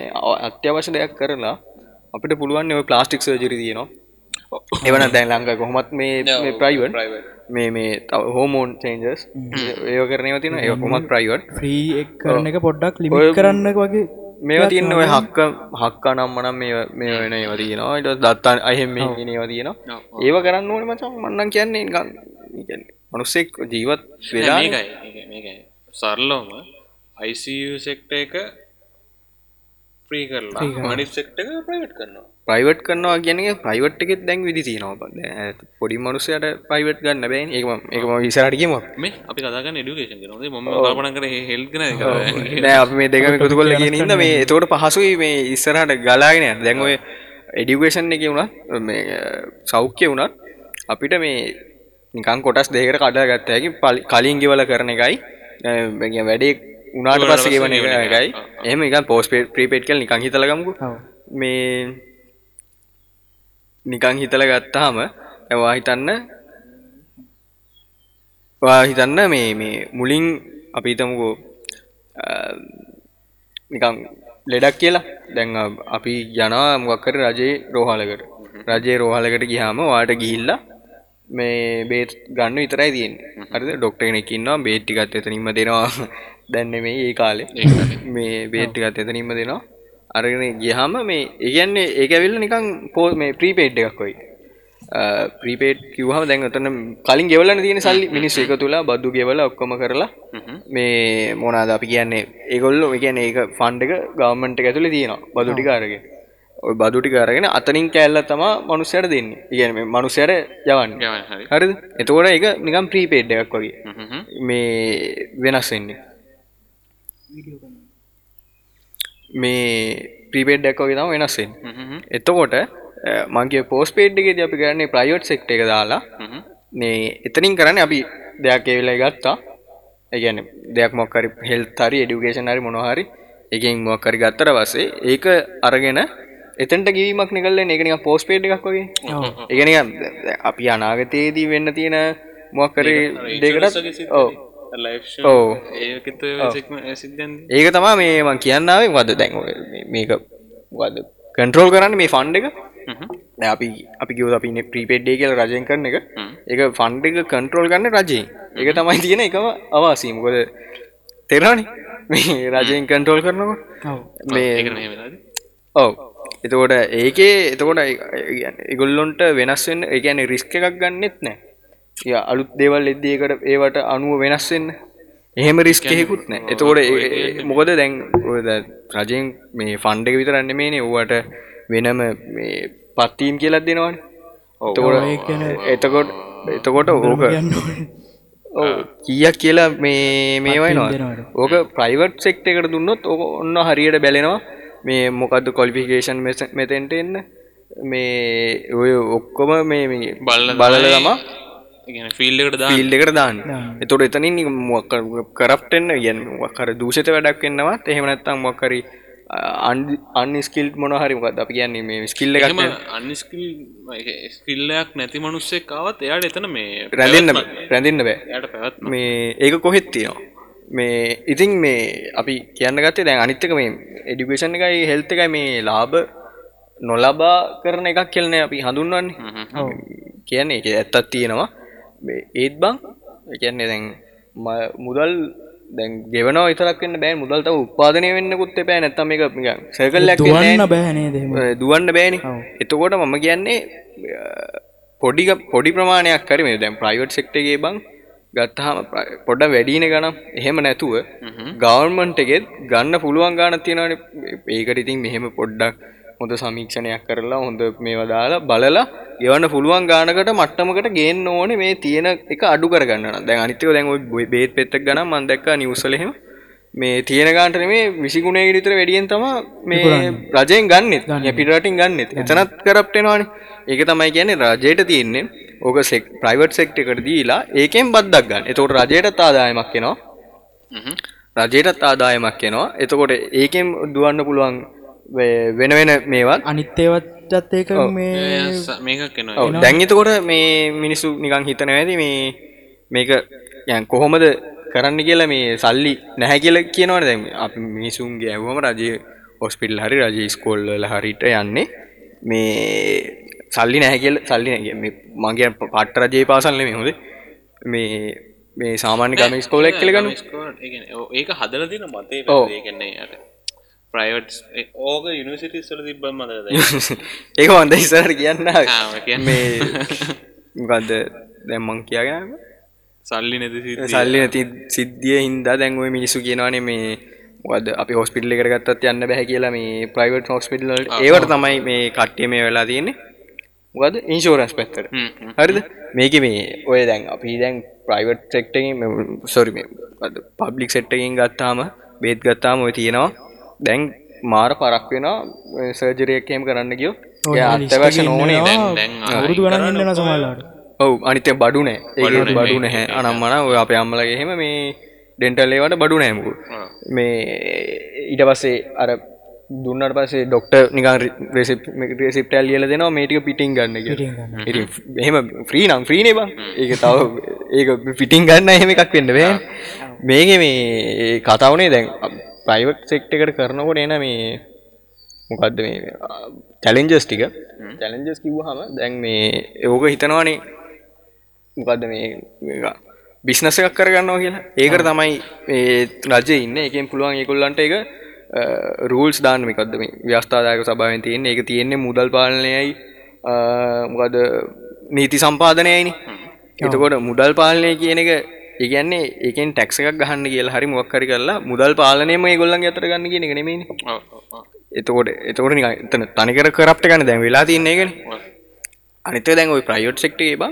Speaker 3: අත්‍යවශ්‍ය දෙයක් කරලා අපිට පුළුවන් ඔය ප්ලාස්ටික් සර්ජරි තියනවා එවන දැන් ලංඟ කොහොමත් මේ ප්‍රයිවන්
Speaker 1: private.
Speaker 3: මේ මේ තව හෝමෝන් චේන්ජස් ඒ කරනව තින ඒ කොමත් ප්‍රයිවට්
Speaker 2: ෆ්‍රී එක් කරන එක පොඩ්ඩක් ලිමිට කරන්න වගේ
Speaker 3: මේවා තියන්න ඔය හක්ක හක්කා නම්මනම් මේ මේ වෙන ඒව තියෙනවා ඉට දත්තාන් අහෙම ඒවා තියෙනවා ඒව කරන්න ඕන මචන් මන්නන් කියන්නේ නිකන්- නිකන් මනුස්සෙක් ජීවත් වෙලා
Speaker 1: දැන් මේකයි ඒක- මේකයි සරලවම ICU සෙක්ට එක ෆ්‍රී කරලා අනිත් සෙක්ට එක ප්‍රයිවට් කරනවා
Speaker 3: ප්‍රයිවට් කරනවා කියන ප්‍රයිවට් එකෙත් දැන් විදි තියෙනවා බ- පොඩි මනුස්සයට ප්‍රයිවට් ගන්න බැයි ඒම එකම විසාටකීම
Speaker 1: මේ අපි කදාගන්න එඩිකේෂන් කරනද මම කල්පන කර හෙල්ගෙන
Speaker 3: නෑ අපි මේ දෙකම එකතු කොල්ල කියන හිද මේ එතකොට පහසුයි මේ ඉස්සරහට ගලාගෙන යන්න. දැන් ඔය එඩියුකේෂන් එක වුණත් මේ අ, සෞඛ්‍ය වුණත් අපිට මේ නිකන් කොටස් දෙකට කඩා ගත්ත හැකි පලි- කලින් ගෙවල කරන එකයි අ, ඒ කියන්නේ වැඩේ උනාට පස්සේ ගෙවන එක- එකයි එහෙම නිකන් පෝස්ට් ප්‍රීපේඩ් කියලා නිකන් හිතලා ගමුකෝ
Speaker 2: ඔව්.
Speaker 3: මේ නිකන් හිතලා ගත්තාම දැන් ඔයා හිතන්න ඔයා හිතන්න මේ මේ මුලින් අපි හිතමුකෝ අ, නිකං ලෙඩක් කියලා දැන් අ- අපි යනවා මොකක්කර රජයේ රෝහලකට රජයේ රෝහලකට ගිහාම වාට ගිහිල්ලා මේ බේත් ගන්න විතරයි තියෙන්නේ හරිද ඩොක්ටර් කෙනෙක් ඉන්නවා බේත් ටිකත් එතනින්ම දෙනවා දැන් මේ ඒ කාලේ මේ බේත් ටිකත් එතනින්ම දෙනවා අරගෙන ගියාම මේ ඒ කියන්නේ ඒක ඇවිල්ලා නිකන් පෝ මේ ප්‍රීපේඩ් එකක් වගේ ප්‍රීපේට් කිව්හම දැන් ඔතන කලින් ගෙවලන තියෙන සල්ලි මිනිස් එක තුලා බද්දු ගෙවල ඔක්කොම කරලා මේ මොනාද අපි කියන්නේ ඒගොල්ලෝ ඒ කියන්නේ ඒක ෆන්ඩ් එක ගවර්න්මන්ට් එක ඇතුලේ තියෙනවා බදු ටික අරගෙන ওই බදු ටික අරගෙන අතනින් කෑල්ල තමයි මිනිස්සුන්ට දෙන්නේ. ඒ කියන්නේ මේ මිනිස්සුන්ට යවන්නේ.
Speaker 1: හරි
Speaker 3: හරිද? එතකොට ඒක නිකන් ප්‍රීපේඩ් එකක් වගේ.
Speaker 1: හ්ම්.
Speaker 3: මේ වෙනස් වෙන්නේ. මේ ප්‍රීපේඩ් එකක් වගේ තමයි වෙනස් වෙන්නේ.
Speaker 1: හ්ම්.
Speaker 3: එතකොට මගේ පෝස්පේඩ් එකේදී අපි කරන්නේ ප්‍රයිවට් සෙක්ටර් එක දාලා
Speaker 1: හ්ම්.
Speaker 3: මේ එතනින් කරන්නේ අපි දෙයක් ඒ වෙලාවේ ගත්තා. ඒ කියන්නේ දෙයක් මොකක් හරි හෙල්ත් හරි এডুকেෂන් හරි මොනවා හරි එකෙන් මොකක් හරි ගත්තට පස්සේ ඒක අරගෙන එතනට ගිවීමක් නිකල්ලා එන්නේ. ඒක නිකන් පෝස්පේඩ් එකක් වගේ. ඒ කියන්නේ නිකන් ද- ද- අපි අනාගතයේදී වෙන්න තියෙන මොකක් හරි දෙයකට ඔව්
Speaker 1: ලයි්
Speaker 3: ඔව්
Speaker 1: ඒකත සිද්ධන්
Speaker 3: ඒක තමා මේ මං කියන්නාවේ වද දැන් ඔය මේ- මේක වද කන්ට්‍රෝල් කරන්න මේ ෆන්ඩ් එක දැන් අපි අපි කිව්ව අපි ඉන්නේ ප්‍රීපේඩ් ඩේ කියලා රජෙන් කරන එක ඒක ෆන්ඩ් එක කන්ට්‍රෝල් කරන්න රජයෙන් ඒක තමයි තියෙන එකම අවාසිය මොකද තේරෙනවනේ මේ රජයෙන් කන්ට්‍රෝල් කරනකොට
Speaker 2: ඔව්
Speaker 3: මේ
Speaker 1: ඒකන වෙලාද
Speaker 3: ඔව් එතකොට ඒකේ එතකොට ඒ- ඒ කියන්නේ ඒගොල්ලොන්ට වෙනස් වෙන්න ඒ කියන්නේ රිස්ක් එකක් ගන්නෙත් නැහැ. ඒ අලුත් දේවල් එද්දී ඒකට ඒවට අනුව වෙනස් වෙන්න එහෙම රිස්ක් එකකුත් නැහැ. එතකොට ඒ- ඒ- මොකද දැන් ඔය දැන් රජයෙන් මේ ෆන්ඩ් එක විතරක් නෙමෙයිනේ ඌට වෙනම මේ පත්වීම් කියලා දෙනවනේ. එතකොට එතකොට එතකොට ඕක
Speaker 2: යන්න ඕනේ.
Speaker 3: ඔව් කීයක් කියලා මේ මේ වයිනවා
Speaker 2: දෙනවට.
Speaker 3: ඕක ප්‍රයිවට් සෙක්ට එකට දුන්නොත් ඕක ඔන්න හරියට බැලෙනවා මේ මොකක්ද කොලිෆිකේෂන් මෙතෙන්ට එන්න මේ ඔය ඔක්කොම මේ මේ
Speaker 1: බල්ල
Speaker 3: බලල තමා
Speaker 1: ඉගෙන ෆිල්ලකට දා
Speaker 3: ෆිල් එකට දාන්න එතොට එතනින් කරප්ටෙන්න්න ගැන කර දූෂත වැඩක් එන්නවත් එහෙමනැත්තම් මොක්කරි අන්ස්කිල් මොනහරිමකත් අපි කියන්නේ මේ ස්කිල්ල එකක්
Speaker 1: එහම අනිස්කල් ස්කිල්ලයක් නැති මනුස්සෙක් කාවත් එයාට එතන මේ
Speaker 3: රැඳන්න රැඳන්න බෑ
Speaker 1: එයට පැවත්ම
Speaker 3: මේ ඒක කොහෙත් තියෙනවා මේ ඉතින් මේ අපි කියන්න ගත්තේ දැන් අනිත්තක මේ එඩිකේෂන් එකයි හෙල්ත එකයි මේ ලාභ නොලබා කරන එකක් කියලන අපි
Speaker 2: Oh.
Speaker 3: හඳුන්වන්නේ කියන්නේ එක ඇත්තත් තියෙනවා මේ ඒත් බං ඒ කියන්නේ දැන් ම- මුදල් දැන් ගෙවනවා විතරක් වෙන්න බෑ මුදල් තව උපාදනය වෙන්නකුත් එපෑ නැත්තම් මේක නිකන් සර්කල් එකක් වෙන්නේ
Speaker 2: දුවන්න බෑ නේද එහෙම
Speaker 3: ඔය දුවන්න බෑනි එතකොට මම කියන්නේ අ, පොඩි පොඩි ප්‍රමාණයක් කරම දැම් ප්‍රයිවට් සෙක්ටගේ බං ගත්තහම පොඩ වැඩීන ගනම් එහෙම නැතුව ගවර්මන්ට් එකෙත් ගන්න පුළුවන් ගාන තියෙනවනේ ඒකට ඉතින් මෙහෙම පොඩ්ඩක් හොඳ සමීක්ෂණයක් කරලා හොඳ මේවා දාලා බලලා ගෙවන්න පුළුවන් ගානකට මට්ටමකට ගේන්න ඕනේ මේ තියෙන එක අඩු කරගන්න නම් දැන් අනිත් එක දැන් ওই බො- බේත් පෙත්තක් ගනම් මම දැක්කා නිවුස් වල එහෙම මේ තියෙන ගානට නෙමේ 20 ගුණයකට විතර වැඩියෙන් තමයි මේ රජයෙන් ගන්නෙත් මේ පිටරටින් ගන්නෙත් එතනත් කරප්ට් වෙනවනේ ඒක තමයි කියන්නේ රජයට තියෙන්නේ ඕක සෙක් ප්‍රයිවට් සෙක්ටර් එකට දීලා ඒකෙන් බද්දක් ගන්න. එතකොට රජයටත් ආදායමක් එනවා.
Speaker 1: හ්ම්.
Speaker 3: රජයටත් ආදායමක් එනවා. එතකොට ඒකෙන් දුවන්න පුළුවන් වේ- වෙන වෙන මේවත්
Speaker 2: අනිත් ඒවටත් ඒක මේ
Speaker 1: ඒ ස- මේකක් එනවා
Speaker 3: ඔව් දැන් එතකොට මේ මිනිස්සු නිකන් හිතන ඇති මේ මේක යන් කොහොමද කරන්න කියලා මේ සල්ලි නැහැ කියලා කියනවනේ දැන් අපි මිනිසුන්ගේ ඇහුවම රජයේ හොස්පිටල් හරි රජයේ ස්කෝල් වල හරිට යන්නේ මේ සල්ලි නැහැ කියලා සල්ලි නැහැ කිය- මේ මං කියන්නේ පාට රජයේ පාසල් නෙමෙයි හොඳේ මේ මේ සාමාන්‍ය ගමේ ස්කෝල් එකක් කියලා ගන්න
Speaker 1: ස්කෝල්- ඒ කියන්නේ ඔ- ඒක හදලා තියෙන මතේ
Speaker 3: ඔව්.
Speaker 1: ඒ කියන්නේ අර ප්‍රයිවට් ඕක යුනිවර්සිටිස් වල තිබ්බම මතකද
Speaker 3: ඒක මන්ද ඉස්සරහට කියන්න ආවේ.
Speaker 1: ආ, ඔය කියන්නේ.
Speaker 3: මේ මොකද්ද දැන් මං කියාගෙන ආවේ.
Speaker 1: සල්ලි නැති සිද්ධිය.
Speaker 3: සල්ලි නැති සිද්ධිය හින්දා දැන් ওই මිනිස්සු කියනවානේ මේ මොකද අපි හොස්පිටල් එකට ගත්තත් යන්න බෑ කියලා මේ ප්‍රයිවට් හොස්පිටල් වලට ඒවට තමයි මේ කට්ටිය මේ වෙලා තියෙන්නේ මොකද ඉන්ෂුරන්ස් පැත්තට
Speaker 1: හ්ම්, හ්ම්.
Speaker 3: හරිද මේක මේ ඔය දැන් අපි දැන් ප්‍රයිවට් සෙක්ටකින් සොරි මේ පබ්ලික් සෙට්ටකින් ගත්තාම බේත් ගත්තාම ඔය තියෙනවා දැන් මාර පරක් වෙනවා සර්ජරියක් එහෙම කරන්න ගියෝ
Speaker 2: ඔය
Speaker 3: එයා
Speaker 2: list එකේ
Speaker 3: අත්‍යවශ්‍ය
Speaker 2: ඉන්නවා.
Speaker 3: නෝනේ දැන්
Speaker 1: දැන්
Speaker 2: අවුරුදු ගණන් ඉන්නවා සමහරවිට
Speaker 3: ඔව් අනිත්‍ය බඩු නෑ ඒක බඩු නැහැ අනම්මන ඔය අපේ අම්මලගේ එහෙම මේ ඩෙන්ටල් ඒවට බඩු නෑ මුකුත්.
Speaker 1: ආ.
Speaker 3: මේ ඊට පස්සේ අර දුන්නට පස්සේ ඩොක්ටර් නිකන් රෙසිප් රෙසිප්ට් එකක් ලියලා දෙනවා මේ ටික පිටින් ගන්න කියලා.
Speaker 2: පිටින් ගන්න.
Speaker 3: ඉතින් එහෙම ෆ්‍රී නම් ෆ්‍රී නේ බං. ඒක තව ඒක පිටින් ගන්න එහෙම එකක් වෙන්න බෑ. මේකේ මේ කතාවනේ දැන් ප්‍රයිවට් සෙක්ටර් එකට කරනකොට එන මේ මොකද්ද මේ චැලෙන්ජස් ටික. චැලෙන්ජස් කිව්වහම දැන් මේ ඕක හිතනවනේ මොකද්ද මේ බිස්නස් එකක් කරගන්නවා කියලා. ඒකට තමයි මේ රජේ ඉන්නේ. ඒකෙන් පුළුවන් ඒගොල්ලන්ට ඒක රූල්ස් දාන්න මේකද්ද මේ ව්‍යවස්ථාදායක සභාවෙන් තියෙන්නේ. ඒක තියෙන්නේ මුදල් පාලනයයි අ, මොකද නීති සම්පාදනයයිනේ. එතකොට මුදල් පාලනය කියන එක ඒ කියන්නේ ඒකෙන් ටැක්ස් එකක් ගහන්න කියලා හරි මොකක් හරි කරලා මුදල් පාලනයම ඒගොල්ලන්ගේ අතට ගන්න කියන එක නෙමෙයිනේ.
Speaker 1: ඔව්, ඔව්, ඔව්.
Speaker 3: එතකොට එතකොට නිකන් එතන තනිකර කරප්ට් ගන්න දැන් වෙලා තියෙන එකනේ.
Speaker 1: ඔව්.
Speaker 3: අනිත දැන් ওই ප්‍රයිවට් සෙක්ටරේ බං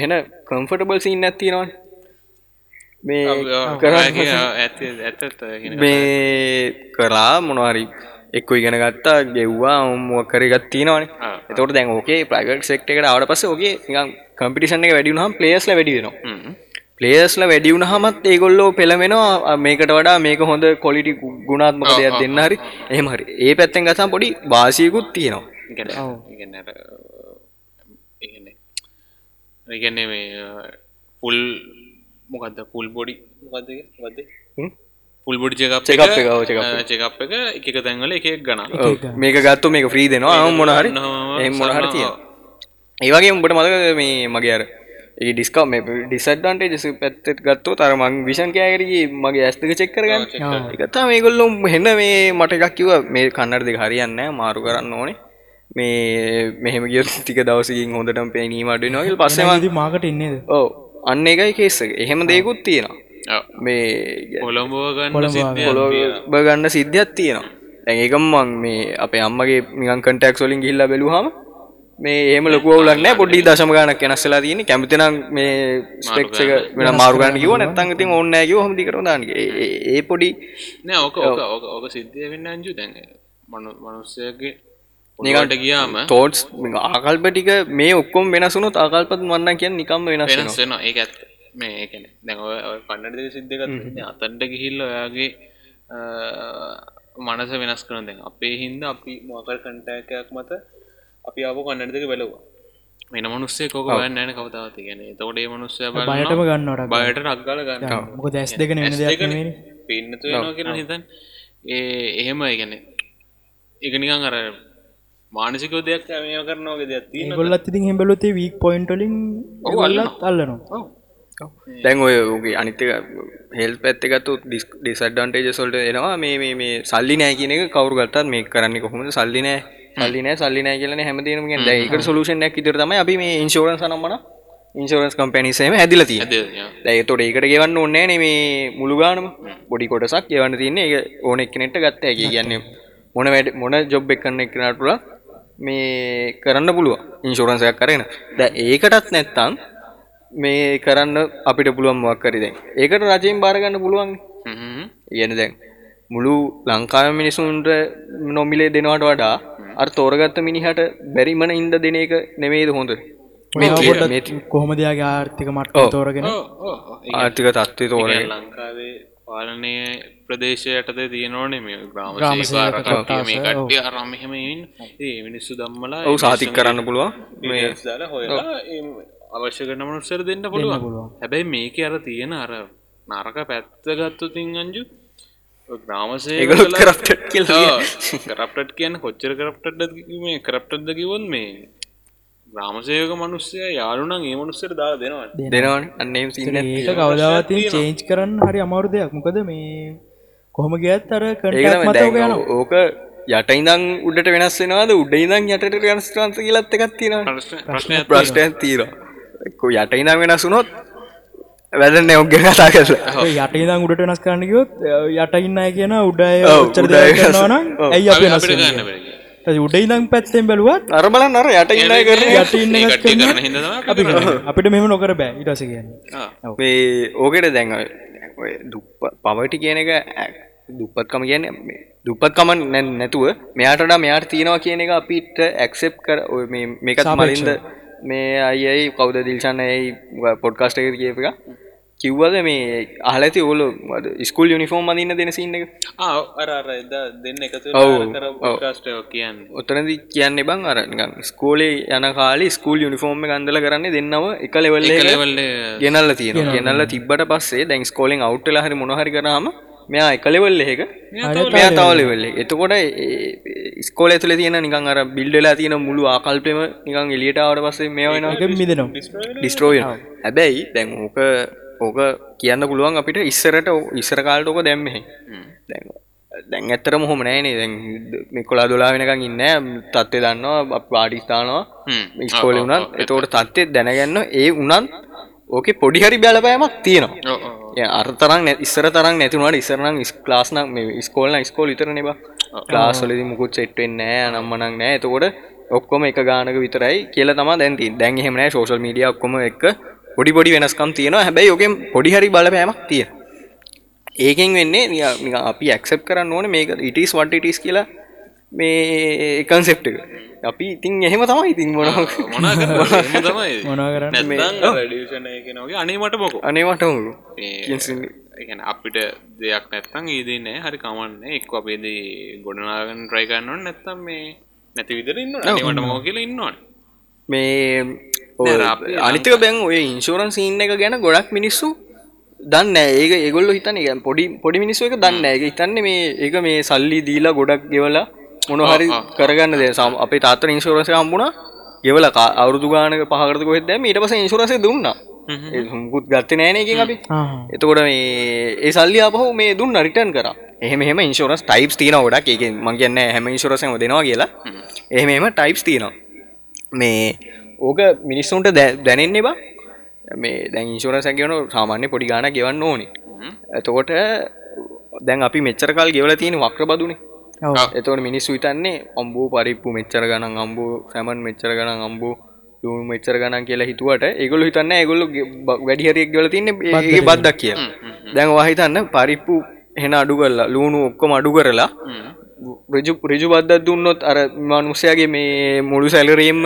Speaker 3: එහෙන කම්ෆර්ටබල් සීන් එකක් තියෙනවනේ මේ
Speaker 1: කරන්නේ ඇත්ත ඇත්ත
Speaker 3: මේ කරා මොනවාරි එක්ක ඉගෙන ගත්තා ගෙව්වා මොකක් හරි එකක් තියෙනවනේ
Speaker 1: ආ.
Speaker 3: එතකොට දැන් ඕකේ ප්‍රයිවට් සෙක්ටර් එකට ආවට පස්සේ ඕකේ නිකන් කම්පිටිෂන් එක වැඩි වුණාම ප්ලේයර්ස්ලා වැඩි වෙනවා ප්ලේයර්ස්ලා වැඩි වුණාමත් ඒගොල්ලෝ පෙළමෙනවා අ, මේකට වඩා මේක හොඳ quality ගු- ගුණාත්මක දෙයක් දෙන්න හරි එහෙම හරි ඒ පැත්තෙන් ගත්තාම පොඩි වාසියකුත් තියෙනවා
Speaker 1: ඒගැන්නේ මේ පුල් මොකක්ද පුල් බොඩි මොකක්ද මොකද
Speaker 3: හ්ම්?
Speaker 1: Full body checkup
Speaker 3: Check up එක, ඔව්, check up
Speaker 1: චකප් එක එක තැන්වල එකක් ගනා
Speaker 3: ඔව්. මේක ගත්තු මේක ෆ්‍රී දෙනවා ආ, මොනහරි
Speaker 1: ගන්නවා,
Speaker 3: එහෙම මොනහරි
Speaker 1: සරනවා.
Speaker 3: තියෙනවා ඒ වගේ උඹට මතකද මේ මගේ අර ඒ ඩිස්කව් මේ ඩිස්ඇඩ්වාන්ටේජස් පැත්තට ගත්තොත් අර මං විෂන් කෑගට ගියේ මගේ ඇස් දෙක චෙක් කරගන්න ඒක තමයි මේගොල්ලෝ හෙන්න මේ මට එකක් කිව්වා මේ කන්නඩ දෙක හරියන්නේ නැහැ මාරු කරන්න ඕනේ මේ මෙහෙම ගියොත් ටික දවසකින් හොඳටම පේනීම අඩු වෙනවා කියලා පස්සේ මං
Speaker 2: ඉතින් මාකට ඉන්නේද
Speaker 3: ඔව් අන්න ඒකයි කේස් එක එහෙම දෙයක්ත් තියෙනවා මේ
Speaker 1: කොළඹව ගන්න සිද්ධිය
Speaker 3: ඔබ ගන්න සිද්ධියක් තියෙනවා දැන් ඒකම මං මේ අපේ අම්මගේ නිකන් කන්ටැක්ට්ස් වලින් ගිහිල්ලා බැලුවාම මේ එහෙම ලොකු අවුලක් නැහැ පොඩි දශම ගාණක් වෙනස් වෙලා තියෙන්නේ කැමති නම් මේ ස්පෙක්ස් එක වෙන මාරු ගන්න කිව්ව නැත්නම් ඉතින් ඕනේ නැහැ කිව්ව ඔහොම දිගටම දාන්න කිව්වා. ඒ- ඒ- ඒ පොඩි
Speaker 1: නෑ ඕක ඕක ඕක ඕක සිද්ධිය වෙන්න අංජු දැන් මනු- මනුස්සයගේ නිකට ගියාම
Speaker 3: thoughts ආකල්ප ටික මේ ඔක්කොම වෙනස් වුණොත් ආකල්පත් මන්නම් කියන්නේ නිකම්ම වෙනස් වෙනවා
Speaker 1: වෙනස් වෙනවා ඒක ඇත්ත මේ ඒකන දැන් ඔය ඔය පන්නට දෙක සිද්ධකත් අතන්ට ගිහිල්ල ඔයාගේ අ, මනස වෙනස් කරන දෙ අපේ හින්ද අපි මොකල් කන්ටෑකයක් මත අපි අප කන්නට දෙක බැලවා මෙන මනුස්සේ කෝක බන්න ෑන කවතාවත ගැන තෝඩේ මනුස්සය
Speaker 2: බයටම ගන්නවට
Speaker 1: බයට රක්ගල ගන්න
Speaker 2: මොකද ඇස් දෙකන වෙන දෙයක් නෙමෙයිනේ.
Speaker 1: පින්නතු වෙනවා කියලා හිතන් ඒ එහෙම ඒගැන එක නිකන් අර මානසිකෝ දෙයක් මේ කරනවාගේ දෙයක් තියෙන
Speaker 2: ඒගොල්ලත් ඉතින් එහෙම බැලුවොත් ඒ වීක් පොයින්ට් වලින් ඒගොල්ලත් අල්ලනවා
Speaker 3: දැන් ඔය ඔගේ අනිතක හෙල් පැත්තකතු ඩිසඩ්ඩන්ටේජ සොල්ට එනවා මේ මේ මේ සල්ලි නෑ කියන එක කවරු ගත්තත් මේ කරන්න කොහොමද සල්ලි නෑ සල්ලි නෑ සල්ලි නෑ කියන හැමදේම කියන්නේ දැන් ඒකට සොලූෂන් එකක් ඉදිරියට තමයි අපි මේ ඉන්ෂුරන්ස් අනම්මන ඉන්සරස් කම්පැනිසේම ඇදිල තිය
Speaker 1: ඇද
Speaker 3: දැය තොට ඒකට ගෙවන්න ඕන්නෑ නේ මේ මුළුගානම පොඩි කොටසක් ගෙවන්න තින්නේ ඒ ඕන එක්නෙට ගත්ත ඇගේ කියන්නේ මොන වැඩ මොන ජොබ් එකන්න එකනටුල මේ කරන්න පුළුව ඉන්ශෝරන්සයක් කරෙන ද ඒකටත් නැත්තං මේ කරන්න අපිට පුළුවන් මක්කරිද ඒකට රජයෙන් බාරගන්න පුළුවන් යන දැන් මුළු ලංකාව මිනිසුන්ට නොමිලේ දෙනවට වඩා අර තෝරගත්ත මිනිහට බැරිමන ඉන්ද දෙන එක නෙමේද හොඳ
Speaker 2: කොහොමදයාගේ ආර්ථික මට්ට තෝරගෙන
Speaker 3: ආර්ථික තත්ත්වය තෝරය
Speaker 1: ලංකාවේ පාලනය ප්‍රදේශයටද තියනෝනේ මේ ග්‍රාම සේවකයෝ මේ කට්ටිය අරම එහෙම ඉන්න. ඒ මිනිස්සු දම්මලා
Speaker 3: ඔවු සාතික් කරන්න පුළුවන් මේ
Speaker 1: දාලා හොයලා ඒ අවශ්‍ය කරන මනුස්සයට දෙන්න පුළුවන්.
Speaker 2: පුළුවන්.
Speaker 1: හැබැයි මේක අර තියෙන අර නරක පැත්ත ගත්තොත් ඉංගන්ජු
Speaker 3: ඒගොල්ලෝ
Speaker 1: ග්‍රාමසේවකලා
Speaker 3: කරප්ටඩ් කියලා
Speaker 1: කරප්ටට් කියන්න කොච්චර කරප්ටට් මේ කරප්ටක්්ද කිවොත් මේ ග්‍රාමසයක මනුස්සය යාලුනම් ඒ මනුස්සර දා දෙනවා
Speaker 3: දෙනවන අන්නේම් සින්න
Speaker 2: ඒක කවදාවතින් චේන්ච් කරන්න හරි අමවරු දෙයක් මොකද මේ කොහොම ගියත් අර
Speaker 3: ඒකම
Speaker 2: කටමත
Speaker 3: දැන්
Speaker 2: යන
Speaker 3: ඕක යට ඉඳං උඩට වෙනස් වෙනවාද උඩ ඉඳං යටට වෙනස්ට්‍රන්ස කියලත් එකක් තියෙනවා
Speaker 1: ප්‍රශ්නය
Speaker 3: ප්‍රශ්ටයන් තීරවා යට ඉඳම් වෙනසුනොත් වැදන්න ඔක්ග කතා කරලා
Speaker 2: යට ඉදම් උඩට වෙනස් කරන්න ගියොත් යට ඉන්න අය කියන උඩය
Speaker 3: ඔව්,
Speaker 2: ඔච්චර
Speaker 3: උඩ
Speaker 2: දෙයක්
Speaker 3: අය වෙනස්-
Speaker 2: කරනවනම්
Speaker 3: ඔව්.
Speaker 2: ඇයි අපි වෙනස් වෙන්නේ?
Speaker 1: ගන්න
Speaker 2: ඒ උඩ ඉඳම් පැත්තෙන් බැලුවත්
Speaker 3: අර බලන්න අර යට ඉඳ කරන
Speaker 2: යට ඉන්න එකත්
Speaker 1: කට්ටිය
Speaker 2: කරනවා.
Speaker 1: කරන හිදවා
Speaker 2: අපි කරනවා. අපිට මෙහෙම නොකර බෑ ඊට පස්සේ කියන්නේ
Speaker 3: මේ ඕකට දැන් ඔය- ඔය දුප්ප පවට කියන එක ඈ, දුප්පත්කම කියන්නේ මේ දුප්පත්කම නැ- නැතුව මෙයාට වඩා මෙයාට තියෙනවා කියන එක අපිට ඇක්සෙප් කර ඔය මේ මේකත් මලින්ද මේ අයයි කවුද දිල්ෂන් ඇයි පොඩ්කාස්ට් එක කියප එක කිව්වද මේ අහල ඇති ඔලු ස්කුල් යුනිෆෝර්ම් අඳන්න දෙන සින්න එක
Speaker 1: අර අර එදා දෙන්න එකතු
Speaker 3: ඔව්, ඔව්.
Speaker 1: කාස්ටයෝ කියන්න
Speaker 3: ඔතනදි කියන්න බං අර නිකන් ස්කෝලේ යන කාලි ස්කූල් යුනිෆෝර්ම් ගන්දල කරන්න දෙන්නව එක ලෙවල්ල ගෙනල්ල තියෙන ගෙනල්ල තිබට පස්සේ දැන් ස්කෝලෙන් අවට්ටල හරි මොහරි කරාම මෙයා එකලෙවල් එක මෙයා තවලෙවල්ල එතකොට ස්කෝල තුල තියෙන නිකන් අර බිල්ඩලා තියෙන මුළු ආකල්පයම නිකන් එලියටාවට පස්සේ මේ වෙන
Speaker 2: ඒක මිදෙනවා
Speaker 3: ඩිස්ට්‍රෝය හැබැයි දැන් ඕක ඕක කියන්න පුළුවන් අපිට ඉස්සරට ඕ- ඉස්සර කාලට ඕක දැම්මෙහි දැන් දැන් ඇත්තරම හොම නෑනේ දැන් මේ කොලා දොලා වෙනකං ඉන්න තත්ත්වය දන්නවා පාඩිස්ථානවා ස්කෝල වුණත් එතෝට තත්ත්වය දැනගන්න ඒ උනන් ඕක පොඩි හරි බැලපෑමක් තියෙනවා ය අර්තරන් ඉස්සර තරන් නැතිනට ඉස්සරනම් ස් ලාස්න ස්කෝල්න ස්කෝල් ඉතර නිබ ලාස්ලදි මුකුත් සෙට්වෙන් නෑ නම්මනක් නෑ එතකොට ඔක්කොම එක ගානක විතරයි කියලා තම දැන්ති දැන් හෙමන ෝෂල් මඩිය ඔක්කොම එක පොඩි පොඩි වෙනස්කම් තියෙනවා හැබැයි යෝකෙන් පොඩි හරි බලපෑමක් තිය ඒකෙන් වෙන්නේ නිකන්- නිකන් අපි ඇක්සප් කරන්න ඕන මේක ඉටස් වටටස් කියලා මේ කන්සෙප්ට එක අපි ඉතින් එහෙම තමයි ඉතින් මොනක්
Speaker 1: මොනා තමයි
Speaker 2: මොනවා කරන්න
Speaker 1: ඩියෂන එකනගේ අනේමට බොකෝ
Speaker 3: අනේවට මුළු
Speaker 1: එකන අපිට දෙයක් නැත්තං ඒදී නෑ හරි කමන්න එක් අපේදී ගොඩනාගන් ට්‍රයිකන්නවන් නැත්තම් මේ නැති විදර ඉන්න අනිවට මෝ කියල ඉන්නවන
Speaker 3: මේ ඔය
Speaker 1: නෑ, අපි
Speaker 3: අනිතක බැන් ඔය ඉන්ශෝරන් සින්න එක ගැන ගොඩක් මිනිස්සු දන්න ඒක ඒගොල්ල හිතන එක පොඩි පොඩි මිනිස්සු එක දන්න එක හිතන්න මේ ඒක මේ සල්ලි දීලා ගොඩක් ගෙවලා මොනහරි කරගන්න දේ සම අපේ තාත්තර ඉන්ශෝරන්සය හම්බුණා ගෙවල කා- අවුරුදු ගානක පහකරක වෙද මීට පස ඉන්ශෝරන්සය දුන්නා ඒ මුකුත් ගත්ත නෑන එක අපි
Speaker 2: ආහ්.
Speaker 3: එතකොට මේ ඒ සල්ලි අපහු මේ දුන්න රිටන් කර එහෙම ඉන්ශෝරස් ටයිප් තින ොඩක් එක මං කියන්න හැම ඉන්ශෝරසම දෙනවා කියලා එහෙම ටයිප්ස් තියනවා මේ ඕක මිනිස්සුන්ට දැ- දැනෙන්න එබා මේ දැන් ඉන්ශෝරසැගවන සාමාන්‍ය පොඩි ගාන ගෙවන්න ඕනි එතකොට දැන් අපි මෙච්චර කල් ගෙවල තියෙන වක්‍ර බදුනේ
Speaker 2: ඔව්.
Speaker 3: එතවට මිනිස්සු හිතන්නේ අම්බූ පරිප්පු මෙච්චර ගණන් අම්බූ සැමන් මෙච්චර ගණන් අම්බූ දුණු මෙච්චර ගණන් කියලා හිතුවට ඒගොල්ලු හිතන්න ඒගොල්ලු ගෙ- බ- වැඩිහරියක් ගෙවල තින්නේ ඒගේ බද්දක් කියලා දැන් වාහිතන්න පරිප්පු හෙන අඩු කරලා ලූුණු ඔක්කොම අඩු කරලා රජු රජු බද්දක් දුන්නොත් අර මනුස්සයාගේ මේ මුළු සැලරීම්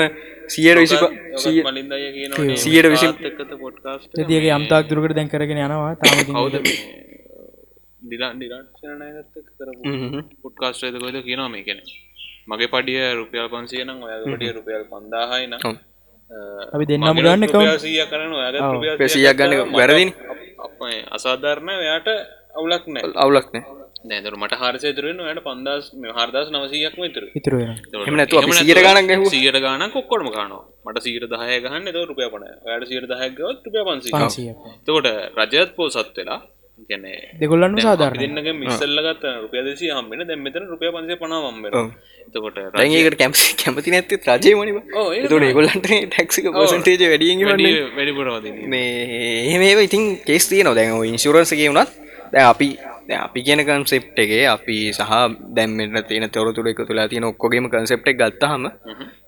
Speaker 3: සියයට විසි
Speaker 1: මලින්ද කියන
Speaker 3: සියයට විසි
Speaker 1: එකත පොට්කාස්ට
Speaker 2: තියගේ අම්තාක් දුරකට දැන් කරගෙන යනවා තාම ඉතින්
Speaker 1: කවද දිලා නිරාක්ෂණයගත්ත කරපු පුොට්කාස්ට්‍රේතකොද කියනවා මේ කෙන මගේ පඩිය රුපියල් පන්සියනම් ඔයාගේ පඩිය රුපියල් පන්දාහයින
Speaker 2: අපි දෙන්නම ගන්න කවුන්ට්
Speaker 1: සිය කරන ඔයාග
Speaker 3: පැසියක් ගන්න වැරදිනි
Speaker 1: අසාධර්ණ එයාට අවුලක් නෑ
Speaker 3: අවුලක්න
Speaker 1: නෑදර මට හරසය තුරෙන් යට පන්දස් හරදස් නවසීයක්ම ඉතුරු
Speaker 2: ඉතුරු වෙනවා
Speaker 3: එහෙම නැතුව අපි සියයට ගණන් ගැහුවොත්.
Speaker 1: සීර ගාන කොක්කොටම කානවා මට සීර දහය ගහන්න එතකොට රුපියල් පනය. ඔයාලට සීර දහයක් ගහුවොත් රුපියල් 500.
Speaker 2: පන්සිය
Speaker 1: එතකොට රජයත් පෝසත් වෙලා ගැන
Speaker 2: දෙගොල්ලන්න සාධාරණ
Speaker 4: දෙන්නක මිස්සල්ල ගත්ත රුපිය දෙසි හම්බෙන දැන් මෙතන රුපිය පන්සේ පනාවම්බෙන
Speaker 3: ඔව්.
Speaker 1: එතකොට
Speaker 3: දැන් ඒකට කැමති කැමති නැත්තේ රජයමනිව
Speaker 4: ඔව්, ඒක
Speaker 3: ඒතකොට ඒගොල්ලන්ට ටැක්සික පර්සන්ටේජ් වැඩියෙන් ගෙවන්නේ
Speaker 1: වැඩි- වැඩිපුරම දෙන්නේ
Speaker 3: මේ එහෙම ඒව ඉතින් කේස් තියෙනවා දැන් ඔය ඉන්ෂුරන්ස් එකේ වුණත් දැන් අපි දැන් අපි කියන concept එකේ අපි සහ දැන් මෙන්න තියෙන තොරතුරු එකතු වෙලා තියෙන ඔක්කොගේම concept එක ගත්තාම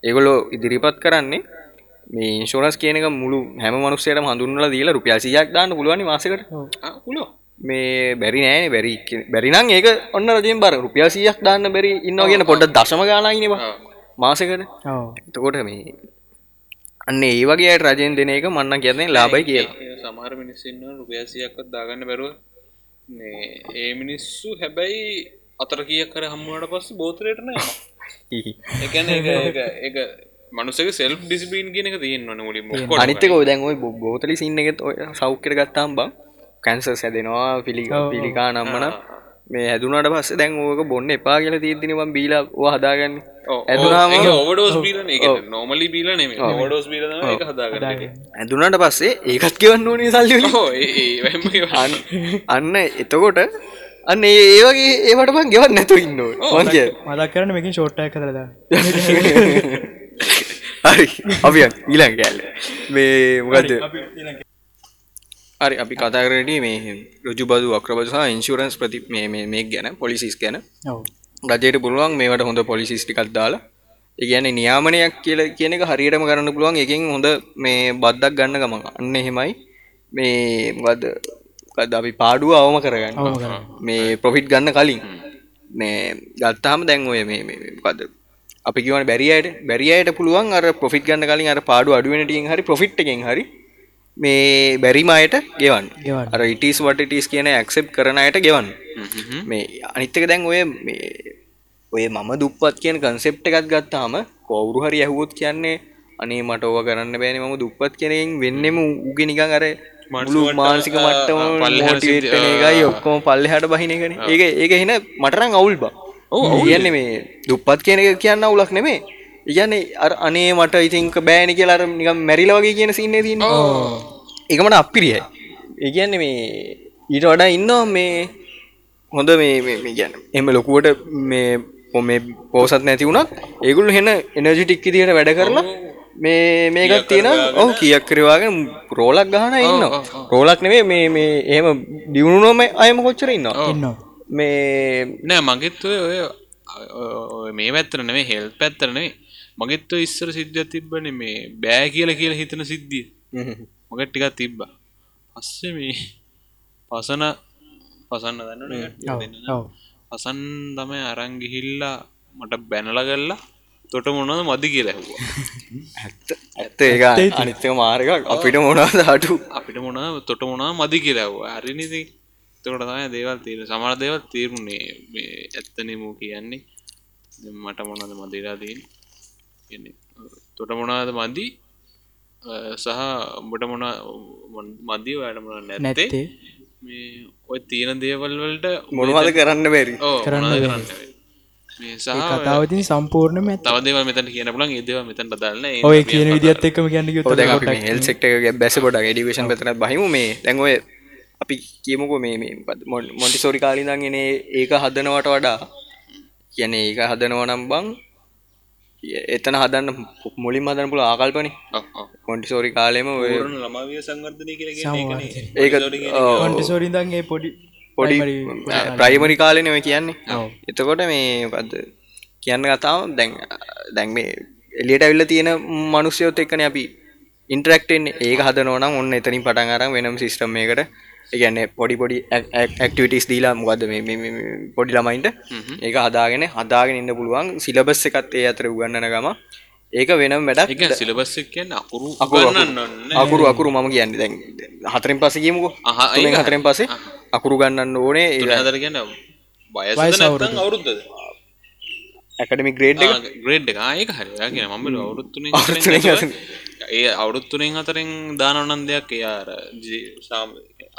Speaker 3: ඒගොල්ලෝ ඉදිරිපත් කරන්නේ මේ ඉන්ෂුරන්ස් කියන එක මුළු හැම මිනිස්සෙටම හඳුන්වලා දීලා රුපියල් 100ක් දාන්න පුළුවන් නේ මාසෙකට
Speaker 1: ආ, පුළුවන්
Speaker 3: මේ බැරි නෑනේ බැරි කිය- බැරි නම් ඒක ඔන්න රජයෙන් බාර රුපියල් 100ක් දාන්න බැරි ඉන්නවා කියන පොඩ්ඩක් දශම ගානයිනවා මාසෙකට
Speaker 2: ඔව්
Speaker 3: එතකොට මේ අන්න ඒ වගේ අයට රජයෙන් දෙන එක මන්නම් කියන්නේ ලාභයි කියලා
Speaker 1: ඒ සමහර මිනිස්සුන්න රුපියසියක්වත් දාගන්න බැරුව මේ ඒ මිනිස්සු හැබැයි අතර කියක් කර හම්මුවට පස්ස බෝතරයටන
Speaker 3: ඉහි.
Speaker 1: එකන එක මනුසක සෙල් ඩිස්බීන් ගෙනක තියන්නවන මුලින්
Speaker 3: අනිත්තක ඔය දැන් ඔය බෝ- බෝතලි සින්න එකත් ඔය සෞඛ්‍යර ගත්තාම් බං කැන්සර් සැදෙනවා පිළි පිළිකා නම්මන මේ හැදුනට පස්ස දැන් ඕක බොන්න එපා කියලා තිීදදිනවම් බීලා ව හදාගන්න ඇදුනාම
Speaker 1: ඔවඩෝස් බීලන එක නොමලි බීල නෙම ඔඩෝස් බීලන එක හදාගන්න
Speaker 3: ඇදුනට පස්සේ ඒකත් කියවන්න ඕනේ සල්ලි වලින්.
Speaker 1: හෝ ඒම
Speaker 3: අන්න- අන්න එතකොට අන්න ඒ ඒ වගේ ඒවට බං ගෙවත් නැතු ඉන්න ඕන කිය
Speaker 2: මදක් කරන මේකින් ෂෝට්ටය කරලා
Speaker 3: හරි අපි යන් ඊළඟ කෑල්ල මේ මොකද හරි අපි කතාරට මේ රජු බදු අක්‍රබද සහ ඉන්ශුරන්ස් ප්‍රති මේ මේ- මේ ගැන පොලිසිස් ගැන
Speaker 2: ඔව්
Speaker 3: රජයට පුළුවන් මේවට හොඳ පොලිසිස්ටිකත් දාලා ඒගැන නියාමනයක් කියල කියන එක හරියටම කරන්න පුළුවන් එකෙන් හොඳ මේ බද්දක් ගන්න ගමන් අන්න එහෙමයි මේ වද අපි පාඩුව අවම කරගන්න
Speaker 2: අවම කරගන්න.
Speaker 3: මේ පොෆිට් ගන්න කලින් මේ ගත්තාම දැන් ඔය මේ පද අපි කියවන බැරියට බැරියට පුළුවන් අර පොෆිට් ගන්න කලින් අර පාඩු අඩුවෙනටින් හරි පොෆිට් එකෙන් හරි මේ බැරිම අයට ගෙවන්
Speaker 2: ගෙවන්න.
Speaker 3: අර ඉටස් වටටස් කියන ඇක්සෙප් කරන අයට ගෙවන් මේ අනිත්තක දැන් ඔය මේ ඔය මම දුප්පත් කියන කන්සෙප් එකත් ගත්තාම කවුරු හරි ඇහුවොත් කියන්නේ අනේ මට ඕව කරන්න බෑනේ මම දුප්පත් කෙනෙන් වෙන්නෙම උගෙ නිකන් අර මුළු මානසික මට්ටම මොටිවේට් වෙන එකයි ඔක්කොම පල්ලෙහාට බහින එකනේ. ඒක ඒක එහෙන මටනම් අවුල් බා. කියන්නේ මේ දුප්පත් කියන එක කියන්න අවුලක් නෙමෙයි. ඒ කියන්නේ අර අනේ මට ඉතින් ක බෑනේ කියලා අර නිකන් මැරිලා වගේ කියන සීන් එකේ තියෙන්නේ. ඒක මට අප්පිරියයි. ඒ කියන්නේ මේ ඊට වඩා ඉන්නවා මේ හොඳ මේ මේ- මේ කියන්නේ එහෙම ලොකුවට මේ පො- මේ පෝසත් නැති වුණත් ඒගොල්ලෝ හෙන එනර්ජිටික් විදියට වැඩ කරලා මේ මේකක් තියෙන ඔව් කීයක් කරවාගෙන රෝලක් ගහන අය ඉන්නවා. රෝලක් නෙමෙයි මේ මේ එහෙම දිනුනොම අයම කොච්චර ඉන්නවා.
Speaker 2: ඉන්නවා
Speaker 3: මේ
Speaker 1: නෑ මගෙත් ඔය ඔය ඔය මේ පැත්තරන මේ හෙල් පැත්තරනේ මගෙත් ඔය ඉස්සර සිද්ධිය තිබ්බන මේ බෑ කියල කියල හිතන සිද්ධිය
Speaker 3: හ්ම්.
Speaker 1: මගත් ටිකක් තිබ්බ පස්ස මේ පසන පසන්න දන්න
Speaker 2: ඔව්
Speaker 1: පසන් තමයි අරංගිහිල්ලා මට බැනල කල්ලා තොට මොනද මදි කියලා ඇහුවා
Speaker 3: ඇත්ත ඒක අනිත්‍ය මාර්ග අපිට මොනාද අඩු
Speaker 1: අපිට මොන තොට මොනා මදි කියලාවා අරිනිති තොට තමයි දේවල් තීර සමර දේවල් තීරුණේ මේ ඇත්තනමූ කියන්නේ දැන් මට මොනද මදිලා තියෙන් කියන්නේ, තොට මොනාද මදි අ, සහ උඹට මොන මදි වැඩ මොන නැත්තේ
Speaker 2: නැත්තේ
Speaker 1: මේ ඔය තියෙන දේවල් වලට
Speaker 3: මොනවද කරන්න බැරි
Speaker 1: ඕ කරන්න කරන්න බැරි. මේ සහ
Speaker 2: කතාවතින් සම්පූර්ණම ඇත
Speaker 1: තව දේවල් මෙතන කියන පුලන් ඒදව මෙතැන් දන්න
Speaker 2: ඔය කියන විදිත් එක්කම කියන්න
Speaker 3: ඔව්,
Speaker 2: යුතු
Speaker 3: දැන් අපි මේ හෙල් සෙක්ටර් එක ගැන බැස පොඩක් එඩියුකේෂන් පැත්තට බහිමු මේ දැන් ඔය අපි කියමුකෝ මේ මේ මොකද්ද, මොන්- මොන්ටිසෝරි කාලේ ඉඳන් එන ඒ- ඒක හදනවට වඩා කියන්නේ ඒක හදනවා නම් බං ඒ- එතන හදන්න මුලින්ම හදන්න පුළුවන් ආකල්පනේ මොන්ටිසෝරි කාලේම ඔය
Speaker 4: ළමාවිය සංවර්ධනය කරගෙන
Speaker 3: ඒක ඔව්.
Speaker 2: ොන්ටිසෝරිදන් ඒ පොඩි
Speaker 3: පොඩි ප්‍රයිමරි කාලන ඔය කියන්නේ
Speaker 2: ඔව්.
Speaker 3: එතකොට මේ පද කියන්න කතාව දැන් දැන් මේ එලියට ඇවිල්ල තියෙන මනුස්්‍යයොත් එක්කන අපි ඉන්ටරක්ටෙන් ඒක හදනෝනම් ඔන්න එතනින් පටන් අරම් වෙනම් සිිස්ටම් එකට ඒගැන්න පොඩි පොඩි ඇක්ටිවිටස් දීලා මොකද මේ- මේ- මේ- මේ පොඩි ළමයින්ට ඒක හදාගෙන හදාගෙන ඉන්න පුළුවන් සිලබස් එකත් ඒ අතර උගන්නන ගම ඒක වෙනම් වැඩක්
Speaker 1: එක සිලබස් එකෙන් අකුරු
Speaker 3: අකුරු-
Speaker 1: අගන්නන්න
Speaker 3: අකුරු අකුරු මම කියන්න දැන් හතරෙන් පස කියමුකෝ
Speaker 1: අහ, ඒක
Speaker 3: තුනෙන් හතරෙන් පසේ අකුරු ගන්නන්න ඕනේ
Speaker 1: හදර කියන්න බයස
Speaker 4: නැත්නම් අවුරුද්දද
Speaker 3: ඇකඩමි ග්‍රේඩ් එක
Speaker 1: ග්‍රේඩ් එක ආයෙක හරි ඔයා කියන මම බැලුවා අවුරුදු තුනෙන්
Speaker 3: අවුරුදු
Speaker 1: හතරෙන්
Speaker 3: තුනෙන්
Speaker 1: ඇතුළේ. ඒ අවුරුදු තුනෙන් හතරෙන් දානවනම් දෙයක් එයා අර ජී- සාම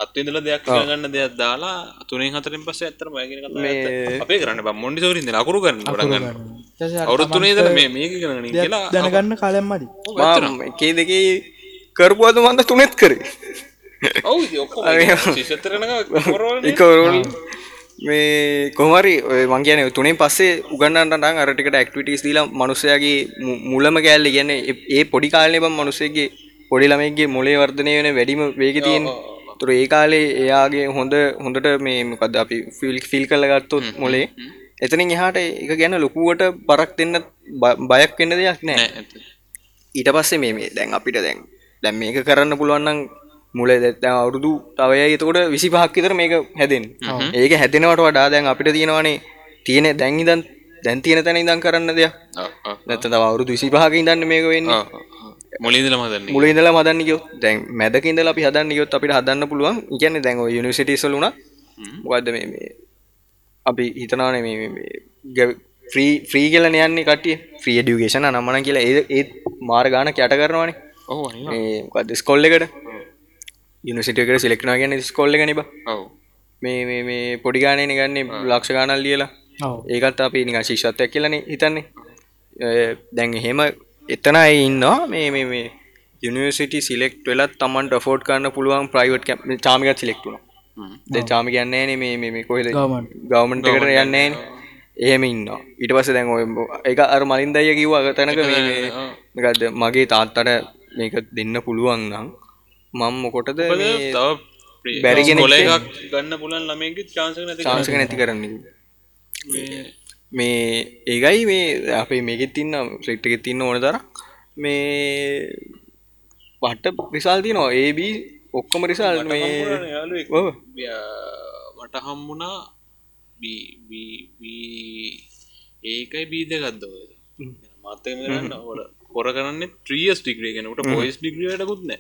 Speaker 1: අත්විඳලා දෙයක් ගන්න දෙයක් දාලා තුනෙන් හතරෙන් පස්සේ ඇත්තටම ඔය කියන කතාව ඇත්ත. අපේ කරන්න බම් මොන්ටිසෝරි ඉඳලා අකුරු ගන්න පටන් ගන්න අවුරුදු තුනේ ඉඳලා මේ මේක ඉගෙන ගනින් කියලා
Speaker 2: දැනගන්න කාලයම් මදි
Speaker 3: මම එකේ දෙකේ කරපුවද මන්ද තුනෙත් කරේ
Speaker 4: ඔව් ඉතින් ඔක්කොම ශිෂ්‍යතරණක කොරවලනේ
Speaker 3: එකවරෝල් මේ කොහමරි ඔය මං කියන්නේ තුනේ පස්සේ උගන්නන්නට අරටිකට ඇක්ටිවිටස් දීලා මනුස්සයාගේ මු- මුලම කෑල්ල කියන්නේ ඒ- ඒ පොඩි කාලේ බම් මනුස්සයගේ පොඩි ළමයිගේ මොලේ වර්ධනය වෙන වැඩිම වේගෙ තියෙන. ඒතර ඒ කාලේ එයාගේ හොඳ හොඳට මේ මොකද අපි ෆිල් ෆිල් කරලා ගත්තොත් මොලේ එතනින් එහාට ඒක ගැන ලොකුවට බරක් දෙන්න බ- බයක් වෙන්න දෙයක් නැහැ.
Speaker 1: නෑ, ඇත්ත.
Speaker 3: ඊට පස්සේ මේ මේ දැන් අපිට දැන් දැන් මේක කරන්න පුළුවන්නම් මුල දැත්තම අවුරුදු තවයයි එතකොට විසි පහක්කිතර මේක හැදෙන් ඒක හැදෙනවට වඩා දැන් අපිට තියෙනවානේ තියෙන දැන් ඉදන් දැන් තියෙන තැන ඉදන් කරන්න දෙයක්
Speaker 1: ආ, ආ,
Speaker 3: නැත්ත තව අවුරුදු විසි පහක ඉදන්න මේක වෙන්න
Speaker 1: ආ, ආ. මුලින්දලම හදන්නේ
Speaker 3: මුල ඉඳලා හදන්න ගියොත් දැන් මැදක ඉඳලා අපි හදන්න ගියොත් අපිට හදන්න පුළුවන් කියන්නේ දැන් ඔය යුනිවර්සිටිස් වල උනා මොකද්ද මේ මේ අපි හිතනවානේ මේ මේ- මේ ෆ්‍රී ෆ්‍රී කියලා යන්නේ කට්ටිය ෆ්‍රී එඩියුකේෂන් අනම්මනම් කියලා ඒ ඒ මාර ගාන කැට කරනවානේ
Speaker 1: ඔව් අනිවා
Speaker 3: මේ මොකද්ද ස්කෝල් එකට යුනිවර්සිටි එකට සිලෙක්ට් වෙනවා කියන්නේ ස්කෝල් එකනේ බා
Speaker 1: ඔව්
Speaker 3: මේ මේ මේ පොඩි ගානේ ගන්නේ ලක්ෂ ගානක් ලියලා
Speaker 2: ඔව්
Speaker 3: ඒකත් අපි නිකන් ශිෂ්‍යත්වයක් කියලානේ හිතන්නේ. අය දැන් එහෙම එතන අය ඉන්නවා මේ මේ මේ යුනිවර්සිටි සිලෙක්ට් වෙලත් Tamanට afford කරන්න පුළුවන් private camp චාමිකත් සිලෙක්ට් වුණා. දැන් චාමි කියන්නේ නෑනේ මේ මේ මේ කොහෙද
Speaker 2: ගවමන්ට්
Speaker 3: ගවර්න්මන්ට් එකට යන්නේ නෑනේ. එහෙම ඉන්නවා. ඊට පස්සේ දැන් ඔය ඒක අර මලින් දයියා කිව්වා අර තැනක මේ මේ මොකද්ද මගේ තාත්තට මේක දෙන්න පුළුවන් නම් මම මොකටද මේ
Speaker 4: තව
Speaker 3: බැරි කෙනෙක්
Speaker 4: කොල එකක් ගන්න පුළුවන් ළමයෙක්ගේ chance එක නැති
Speaker 3: chance එක නැති කරන්නේ කිව්වා.
Speaker 4: මේ
Speaker 3: මේ ඒකයි මේ අපේ මේකෙත් තින්න සෙට් එකෙත් තින්න ඕන තර මේ පට්ට රිසල් තියනවා ඒබ ඔක්කොම රිසල් මේ
Speaker 4: හම්බුණානේ යාළුවෙක්.
Speaker 3: ඔව්.
Speaker 1: බිය- මට හම්බුණා බී- බී- බී- ඒකයි බීද ගත්දවද
Speaker 4: මත් එක කරන්න ඕන
Speaker 1: කොර කරන්න ත්‍රියස් ඩිග්‍රේ කෙනට පොයිස් ඩිග්‍රියටකුත්න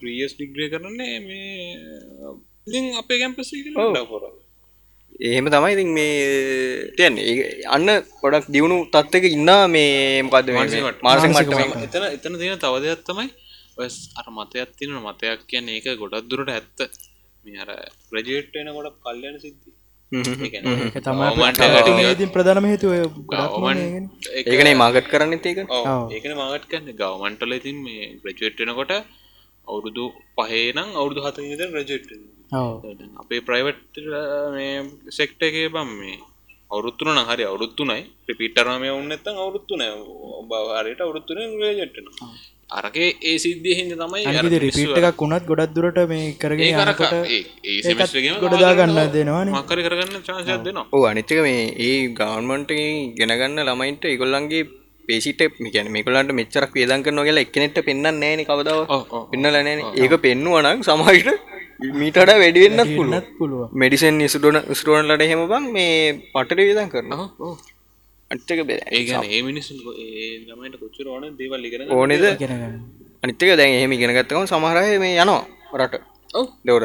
Speaker 1: ත්‍රියස් ඩිග්‍රේ කරන්නේ මේ ඉතින් අපේ කැම්පසි
Speaker 4: කොර
Speaker 3: එහෙම තමයි ඉතින් මේ තියන් අන්න පොඩක් දියුණු තත්වක ඉන්න මේ මොකද මාර්සක මට
Speaker 1: එතන එතන තියෙන තවදයක් තමයි ඔය ස්- අර මතයක් තියෙන මතයක් කියන්නේ ඒක ගොඩක් දුරට ඇත්ත මේ අර
Speaker 4: ග්‍රජුවේට් වෙනකොට කල්යන සිද්ධි
Speaker 2: ඒක තමයි
Speaker 1: ඕමන්ට
Speaker 2: ඒකටම ප්‍රධානම හේතුව ඔය ගොඩක්ම
Speaker 1: ගවමන්
Speaker 2: නේ ඒකනේ.
Speaker 1: ඒක
Speaker 3: ඒකනේ මාගට් කරන්න ඒක
Speaker 4: ඔව්
Speaker 2: ඔව්.
Speaker 1: ඒකන මාගට් කන්න ගවමන්ටල ඉතින් මේ ග්‍රජුවට් වෙනකොට අවුරුදු පහේනම් අවුරුදු හත
Speaker 4: ඉතින් ග්‍රජුවේට් වෙනවා
Speaker 2: ඔව්
Speaker 1: අපේ ප්‍රයිවට් මේ සෙක්ට එක බම් මේ අවුරුත්තුන නහරි අවුරුත්තුනයි
Speaker 4: පිටරම වුණ නැත්නම් අවුරුදු තුනයි ඔබ හරියට අවුරුදු තුනෙන් ග්‍රජුවේට් වෙනවා
Speaker 1: අරගේ ඒ සිද්ධිය හින්ද තමයි අර
Speaker 2: අනිකද රිපීට් එකක් වුණත් ගොඩක් දුරට මේ
Speaker 1: ඒ
Speaker 2: කරගෙන
Speaker 1: කරක
Speaker 2: යනකොට
Speaker 1: ඒ- ඒ සෙමස්ටරේම
Speaker 2: ගොඩදා ගන්න දෙනවානේ
Speaker 1: මකර කරගන්න චාන්සයක් දෙනවා
Speaker 3: ඕ අනිත්තක මේ ඒ ගවන්මන්ට ගෙනගන්න ළමයින්ට ඉගොල්ලන්ගේ පේසිට මිකැන මේකොලන්ට මෙච්චරක් වේදන් කරනවා කියලා එකනෙට පෙන්න්න නෑන කවදාව
Speaker 1: ඔව්, ඔව්.
Speaker 3: පෙන්නල නෑන ඒක පෙන්නුවනක් සමහිට මීටට වැඩිවෙන්නත් පුළුව
Speaker 2: ඉන්නත් පුළුවන්
Speaker 3: මෙඩිසන් නිසුටන ස්ටෝන්ලට හෙම බං මේ පටට වේදන් කරනවා අට්ටක බේ
Speaker 1: ඒගැන ඒ මිනිස්සු ඒ ගමට කොච්චර ඕන දේවල් ලිගෙන
Speaker 3: ඕනෙද
Speaker 2: ඉගෙන ගන්න
Speaker 3: අනිත්තක දැන් එහෙම ඉගෙනගත්තකම සමහරය මේ යනවා රට දෙවර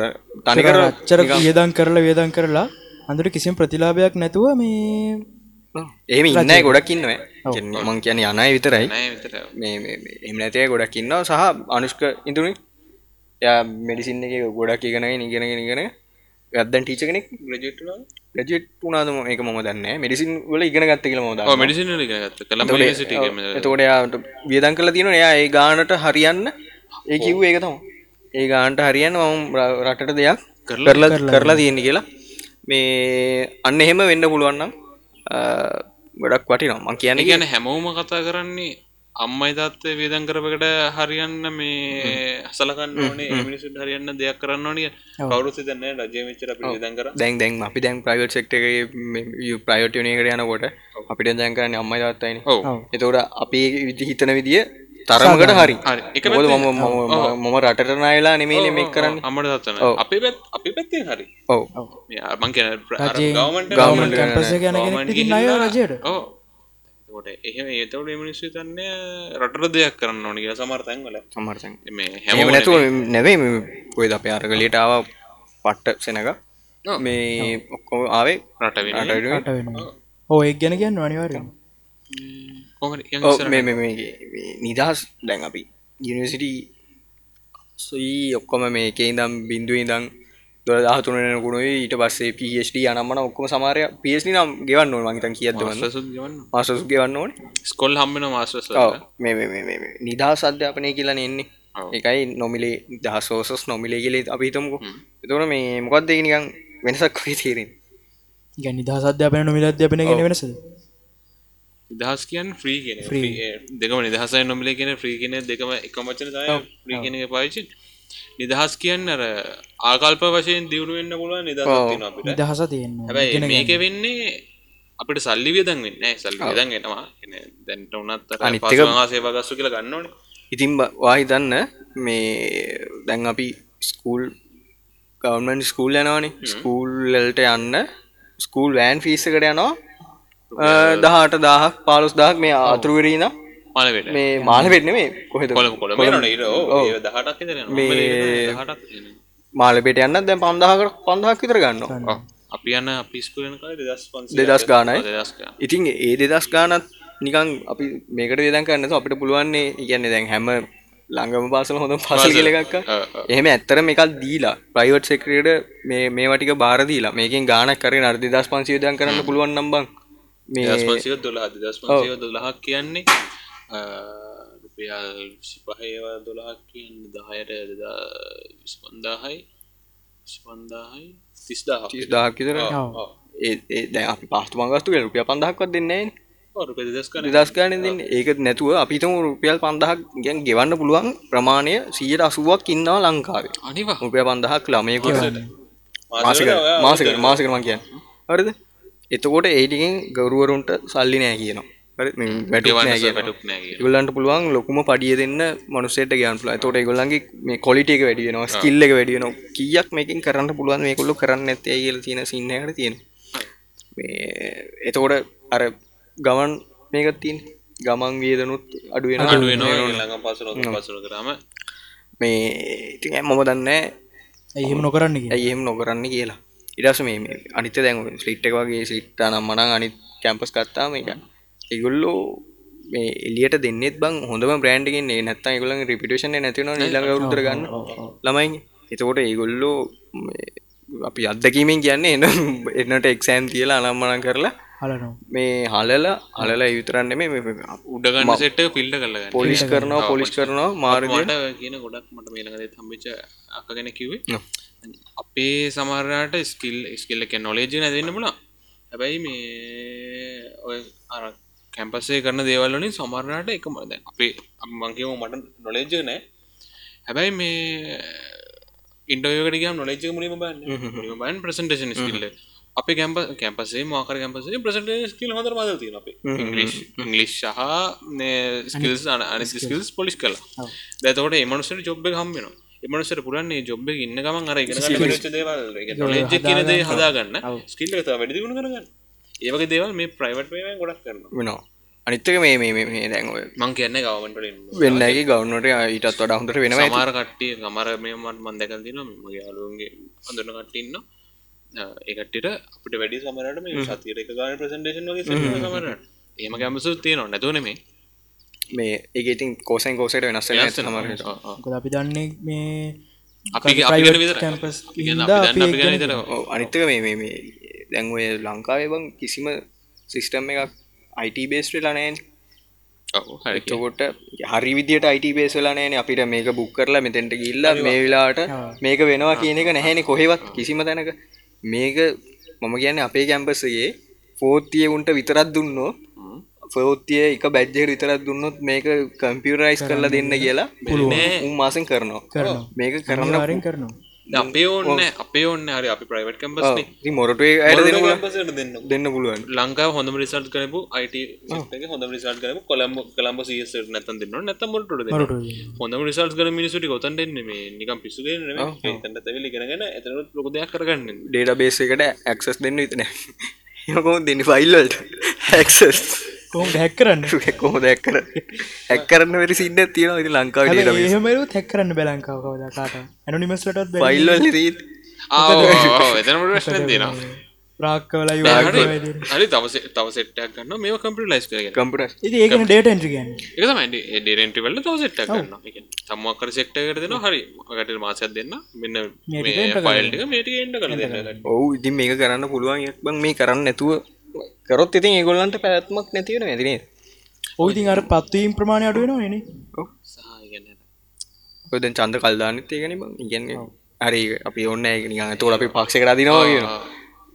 Speaker 3: තනිකර
Speaker 2: අච්චර වියදම් කරලා වියදම් කරලා අඳුර කිසිම ප්‍රතිලාභයක් නැතුව මේ
Speaker 3: එහෙම ඉන්න ගොඩක් ඉන්නවා මං කියන යනයි විතරයි
Speaker 1: නෑ විතර
Speaker 3: මේ එමනැතිය ගොඩක් ඉන්නවා සහ අනුෂ්ක ඉඳුනි ය මෙඩිසින් එක ගොඩක් ඉගෙන ඉගෙන ඉගෙන ගත්දන් ටීච කෙනෙක්
Speaker 4: ග්‍රජුවේට් වෙනවා
Speaker 3: රජෙට් වනාදම එක ම දන්න මෙඩිසින් වල ඉගෙන ගත්ත කියල මොද
Speaker 1: මඩිසින ලිගත් කළම් සිට
Speaker 3: එතකොට යාට වියදන් කල තියන එයා ඒ ගානට හරියන්න ඒ කිව් ඒක තම ඒ ගාන්ට හරියන්න මම රටට දෙයක් කරලා කරලා තියෙන කියලා මේ අන්න එහෙම වෙන්න පුළුවන්නම් ගොඩක් වටිනවා මං කියන්නේ
Speaker 1: ගැන හැමෝම කතා කරන්නේ අම්මයි තාත්තේ වේදන් කරපකට හරියන්න මේ සලකන්න ඕනේ ඒ මිනිසුන් හරියන්න දෙයක් කරන්න ඕනිය
Speaker 4: කවුරුත් හිතන්නේ රජයේ මෙච්චර අපිට විදන් කරා
Speaker 3: දැන් දැන් අපි දැන් ප්‍රයිවට් සෙක්ට ප්‍රයිවට් යනකට යනකොට අපිට දැන් කරන්න අම්ම දත්තයින
Speaker 1: ඔව්
Speaker 3: එතකොට අපි විදි හිතන විදිිය තරමකට හරි
Speaker 1: හරි. එක
Speaker 3: මොකද මම මම- මම රටට නයලා නෙමේ මේ කරන්න
Speaker 1: අමට දත්තන අපේ පැත් අපි පැත්තෙන් හරි
Speaker 3: ඔව
Speaker 1: මේ මං කියන
Speaker 4: ගවර්න්මන්ට්
Speaker 2: ගවර්න්මන්ට් කැම්පස් එක යන කෙනෙක් ඉතින් අය රජයට
Speaker 1: ඕ ට එහෙම ඒතවට මිනිස්සු තන්නේ රටර දෙයක් කරන්න ඕනි කියලා
Speaker 4: සමහර තැන්වල
Speaker 3: සමර්සන්
Speaker 1: මේ
Speaker 3: එම
Speaker 1: හැම
Speaker 3: නැතුව නැවේ ඔයද අප අරගලට ආව පට්ට සෙනක මේ ඔක්කෝ ආවේ
Speaker 1: රට වෙන
Speaker 3: රටට
Speaker 2: කට වෙනවා ඔව් ඒක ගැන කියන්න අනිවාර්යෙන්
Speaker 1: කොමට
Speaker 3: ඔව් මේ මේ- මේ මේ නිදහස් දැන් අපි යනිසිටි සයි ඔක්කොම මේක ඉදම් බින්දුව ඉදම් දොල දහතුන කුණුයි ඊට පස්සේ පිට අනම්මන ඔක්කොම සමාරය පිස් නම් ගෙවන්න ඕන මහිතන් කියදවන්න
Speaker 1: සුත් ගවන්න
Speaker 3: මාසසු ගෙවන්න ඕන
Speaker 1: ස්කොල් හම්බෙන මාස්ටස්
Speaker 3: මේ මේ- මේ- මේ- මේ නිදහස් අධ්‍යාපනය කියලා නෙන්නේ
Speaker 1: ඔව්.
Speaker 3: එකයි නොමිලේ දහ සෝසස් නොමිලේ කියල අපිතුමකු එතුර මේ මොකක්ද ඒක නිකන් වෙනසක් වගේ තේරෙන්
Speaker 2: ගැන නිදහස් අධ්‍යාපන නොමිල අධ්‍යාපන ගැන වෙනසද
Speaker 1: නිදහස් කියන් ්‍රී කියෙන දෙකම නිදහසයි නොමිල කියෙන ්‍රී කියෙන දෙකම එකමචන තය ්‍රී කියෙන පාවිචි නිදහස් කියන්න අර ආකල්ප වශයෙන් දියුණු වෙන්න පුළුව නිදහස්න අපිට
Speaker 2: නිදහස තියෙන්නවා
Speaker 1: හැබැයි මේක වෙන්නේ අපිට සල්ලි වියදන් වෙන්න සල්ලි වියදන් වෙනවා එන දැන්ට උනත්
Speaker 3: අනිත් එක-
Speaker 1: පසේ වගස්සු කියලා ගන්නවන
Speaker 3: ඉතින් වාහිතන්න මේ දැන් අපි ස්කූල් ගවර්මන් ස්කූල් යනවානේ ස්කූල්ලට යන්න ස්කූල් වෑන් ෆිස්සකට යනවා දහට දාහක් පාලුස් දහක් මේ අතුරුවරීන
Speaker 1: මලවෙට
Speaker 3: මේ මාලවෙන්න මේ කොහෙද
Speaker 1: කොළම කොළම
Speaker 3: කොළඹ. ඔව්.
Speaker 1: ඒ දහටක්
Speaker 3: මේ-
Speaker 1: දහටක්
Speaker 3: මාලපෙට යන්න දැන් පන්දාහකට පන්දහක් විතර ගන්න
Speaker 1: අපි යන්න අපිස්කලන කල දස් පන්ස
Speaker 3: දෙදස් ගානයි
Speaker 1: දස්ක
Speaker 3: ඉතින් ඒ දෙදස් ගානත් නිකන් අපි මේකට දෙදන් කරන්න අපිට පුළුවන්නේ කියන්නේ දැන් හැම ළඟම පාසල හොඳ පාසල් කියලෙක්ක් එහෙම ඇත්තර මේකක් දීලා ප්‍රයිවට් සෙක්‍රට මේ මේ වටික බාරදීලා මේකින් ගානක් කරේ අර්ධ දස් පන්සියෝදයන් කරන්න පුළුවන් නම්බං මේ
Speaker 1: දස් පන්සිය දොලා දස් පන්සිය දොලහක් කියන්නේ අ, රුපියල් සිපහේවා දොලාහක් කියන්නේ දහයට විස්පන්දාහයි විස්පන්දාහයි තිස්දාහ
Speaker 3: දහක් විතර
Speaker 2: ඔව්.
Speaker 3: ඒ ඒ දැන් අපි පාස්තු මංගස්තු කියලා රුපියල් පන්දහක්වත් දෙන්නේ නැහැ
Speaker 1: රුප දස් කන
Speaker 3: නේ. දෙදස් ගානෙන් දෙන්නේ ඒකත් නැතුව අපිටම රුපියල් පන්දහක් ගැන් ගෙවන්න පුළුවන් ප්‍රමාණය සීයට අසුවක් ඉන්නවා ලංකාවේ
Speaker 1: අනිවා
Speaker 3: රුපිය පන්දහක් ළමයකුට මාසික
Speaker 4: මාසිකට ඔයා
Speaker 3: මාසික මාසික මං කියන්න හරිද එතකොට ඒටිකෙන් ගවරුවරුන්ට සල්ලි නෑ කියනවා හරි මේ වැටුප් නෑ කියනවා.
Speaker 1: වැටුප් නෑ කියනවා.
Speaker 3: ඒගොල්ලන්ට පුළුවන් ලොකුම පඩිය දෙන්න මනුස්සයට ගියන් පුළුවන් එතකොට ඒගොල්ලන්ගේ මේ ක්වොලිටි එක වැඩි වෙනවා ස්කිල් එක වැඩි වෙනවා කීයක් මේකෙන් කරන්න පුළුවන් මේගොල්ලෝ කරන්නේ නැත්තේ කියලා තියෙන සීන් එකකට තියෙනවා මේ එතකොට අර ගමන් මේක තියෙන ගමන් වියදනුත් අඩු වෙනවා
Speaker 1: අඩු වෙනවා ළඟ පසුර පසුර කරාම
Speaker 3: මේ ඉතින් ඇයි මම දන්නේ නෑ
Speaker 2: ඇහෙම නොකරන්න කිය
Speaker 3: ඇයිඒම නොකරන්න කියලා ඉඩස මේ මේ අනිත දැන් ස්ලිට් එක වගේ සිට්ට නම්මන අනිත් කැම්පස් කත්තාම එක ඉගුල්ලෝ මේ එලියට දෙන්නෙත් බං හොඳම බ්‍රන්ඩ්ගෙන් නැත්ත ගුල රිපිටේෂන නැතින නිලඟ උතර ගන්න ළමයි එතකොට ඒගොල්ලෝ මේ අපි අත්දකීමෙන් කියන්නේ එන එන්නට එක්සෑම් කියලා අනම්මනන් කරලා
Speaker 2: හලනවා
Speaker 3: මේ හලල හලලා යුතරන්න මේ
Speaker 1: උඩගන්න සෙට පිල්ල කරලගන්න
Speaker 3: පොලිස් කරනවා පොලිස් කරනවා මාර්ගයට
Speaker 1: මට කියන ගොඩක් මට මේලකද තම්බිච අක ගැන කිවේ අපේ සමරට ස්කිල් ස්කිල්ල එක නොලේජ නැදන්න පුලා හැබැයි මේ ඔය අර කැම්පසේ කරන දේවල්ලින් සමරණට එක මරද අපේ අම්මගේම මට නොලේජ නෑ හැබැයි මේ ඉන්ඩෝයකට ගම් නොලජ මුලම බන්න බන් ප්‍රසන්ටේෂන් ස්කිල්ල අපි කැම්ප කැම්පසේ මකර කැම්පසේ ප්‍රසට කිල් හොඳර මද තින අප ඉංගලි සහ ස්කල් අන ස්කල්ස් පොලිස් කලා දැතවට එමනුසට ජොබ් හම්බෙන එමනුසට පුරන්නේ ජොබ් ඉන්න ගමන් අර ලජ කියනදේ හදාගන්න ස්කිල්ල වැඩිගුණ කරගන්න ඒවගේ දේවල් මේ ප්‍රයිවට් ගොඩක් කරන
Speaker 3: වෙනවා අනිත්තක මේ මේ මේ- මේ දැන්ව
Speaker 1: මං කියන්නේ ගවමට
Speaker 3: වෙන්නගේ ගෞන්නට ඊටත් වඩා හොඳට වෙනවා
Speaker 1: සමාර කට්ටිය සමර මේමන් මන්දකල් දින මගේ අලුවන්ගේ හඳුන කට්ටඉන්න ඒකටට අපට වැඩි සමරට මේ සතිර එක ගාන ප්‍රසන්ටේෂන් වගේ සමරට ඒම ගැමසු තියෙනවා නැතුවන මේ
Speaker 3: මේ ඒකඉතින් කෝසන් කෝසට වෙනස් වෙන ඇත මර
Speaker 2: මොකද අපි දන්නේ මේ
Speaker 1: අපි අපි
Speaker 2: private
Speaker 1: ගැන විතර
Speaker 2: campus
Speaker 1: අපි ගැන
Speaker 2: හින්දා
Speaker 1: අපි
Speaker 2: අපි
Speaker 1: දැන්
Speaker 2: ඒක
Speaker 1: අපි ගැන
Speaker 2: ගැන
Speaker 1: විතර
Speaker 3: අනිත්තක මේ මේ- මේ දැන්වය ලංකාවේ බං කිසිම සිිස්ටම් එකක් අයිට බේස් වෙලානෑන්
Speaker 1: ඔව්, හරි.
Speaker 3: තකොට හරි විදිට අයිට බේසලා නෑන අපිට මේක බුක් කරලා මෙතැන්ට ගිල්ලා මේ වෙලාට මේක වෙනවා කියන එක නැහැනි කොහෙවත් කිසිම තැනක මේක මම කියන්න අපේ කැම්පසගේ පෝතිය උන්ට විතරත් දුන්නෝ ෆෝතිය එක බැද්ජෙ විතරත් දුන්නොත් මේක කම්පියරයිස් කරලා දෙන්න කියලා උන් මාසෙන් කරනවා
Speaker 2: කරනවා.
Speaker 3: මේක කරන්න
Speaker 2: අරෙන් කරනවා
Speaker 1: දැන් අපේ ඕන්න අපේ ඔන්න හරි අපි ප්‍රයිවට් කම්පස්
Speaker 3: Oh. ඉතින් මොරටුවේ අයට දෙන්න පුළුවන්-
Speaker 4: දෙන්න
Speaker 3: දෙන්න පුළුවන්
Speaker 1: ලංකාව හොඳම රිසල්් කරපු අයිට හොඳ රිසල් කරම කොළම් කළම්ඹ සිස නැතන් දෙන්න නැත මොට හොඳම රිසල් කර මිනිසුටි කොතන්ට එන්නේ මේ නිකම් පිස්සු තැට තැවිලි කරගෙන එතනත් ලොක දෙයක් කරගන්න
Speaker 3: ඩේට බේස එකට ඇක්සස් දෙන්න විතන යකෝ දෙන්න ෆයිල්ලට ඇක්සස්
Speaker 2: කොහොම හැක් කරන්න
Speaker 3: කොහො දැක් කර ඇක් කරන්න වැරි සින්න තියෙන ඉති ලංකාව ඩේට
Speaker 2: එහෙමරු හැක් කරන්න බැලංකාව කවදකාට ඇනුනිමස්ලටත්
Speaker 3: ෆයිල්වල් රීත්
Speaker 1: ආ එතනට ප්‍රශ්න දෙනවා
Speaker 2: ප්‍රාක්කවලයි
Speaker 1: හරි තවස තවසෙට්ටක් ගන්න මේ කම්පිට ලයිස් කරග
Speaker 3: කම්පට
Speaker 2: ඉති ඒක ඩේට ඇන්ට්‍රිගන්
Speaker 1: එකතමයි ඩේරෙන්ටි වල්ල තවසෙට්ට ගන්න තම්මක්කර සෙක්ටකට දෙෙන හරි ගට මාසයක් දෙන්න මෙන්න පයිල්ටික මේට එන්ඩ කර දෙන්න
Speaker 3: ඔවු ඉතින් මේක කරන්න පුළුවන් එකක් බං මේ කරන්න නැතුව කරොත් ඉතින් ඒගොල්ලන්ට පැත්මක් නැතිවෙන ඇතිනේ
Speaker 2: ඔයිතින් අර පත්වීම් ප්‍රමාණය අඩුවෙනවා න
Speaker 1: සහ
Speaker 3: ඔය දැන් චන්ද කල්දානත් ඒකන ඉගන්නේ හරි අපි ඔන්න ඒක නිගන්න තෝර අපි පක්ෂ කරදිනවා කියන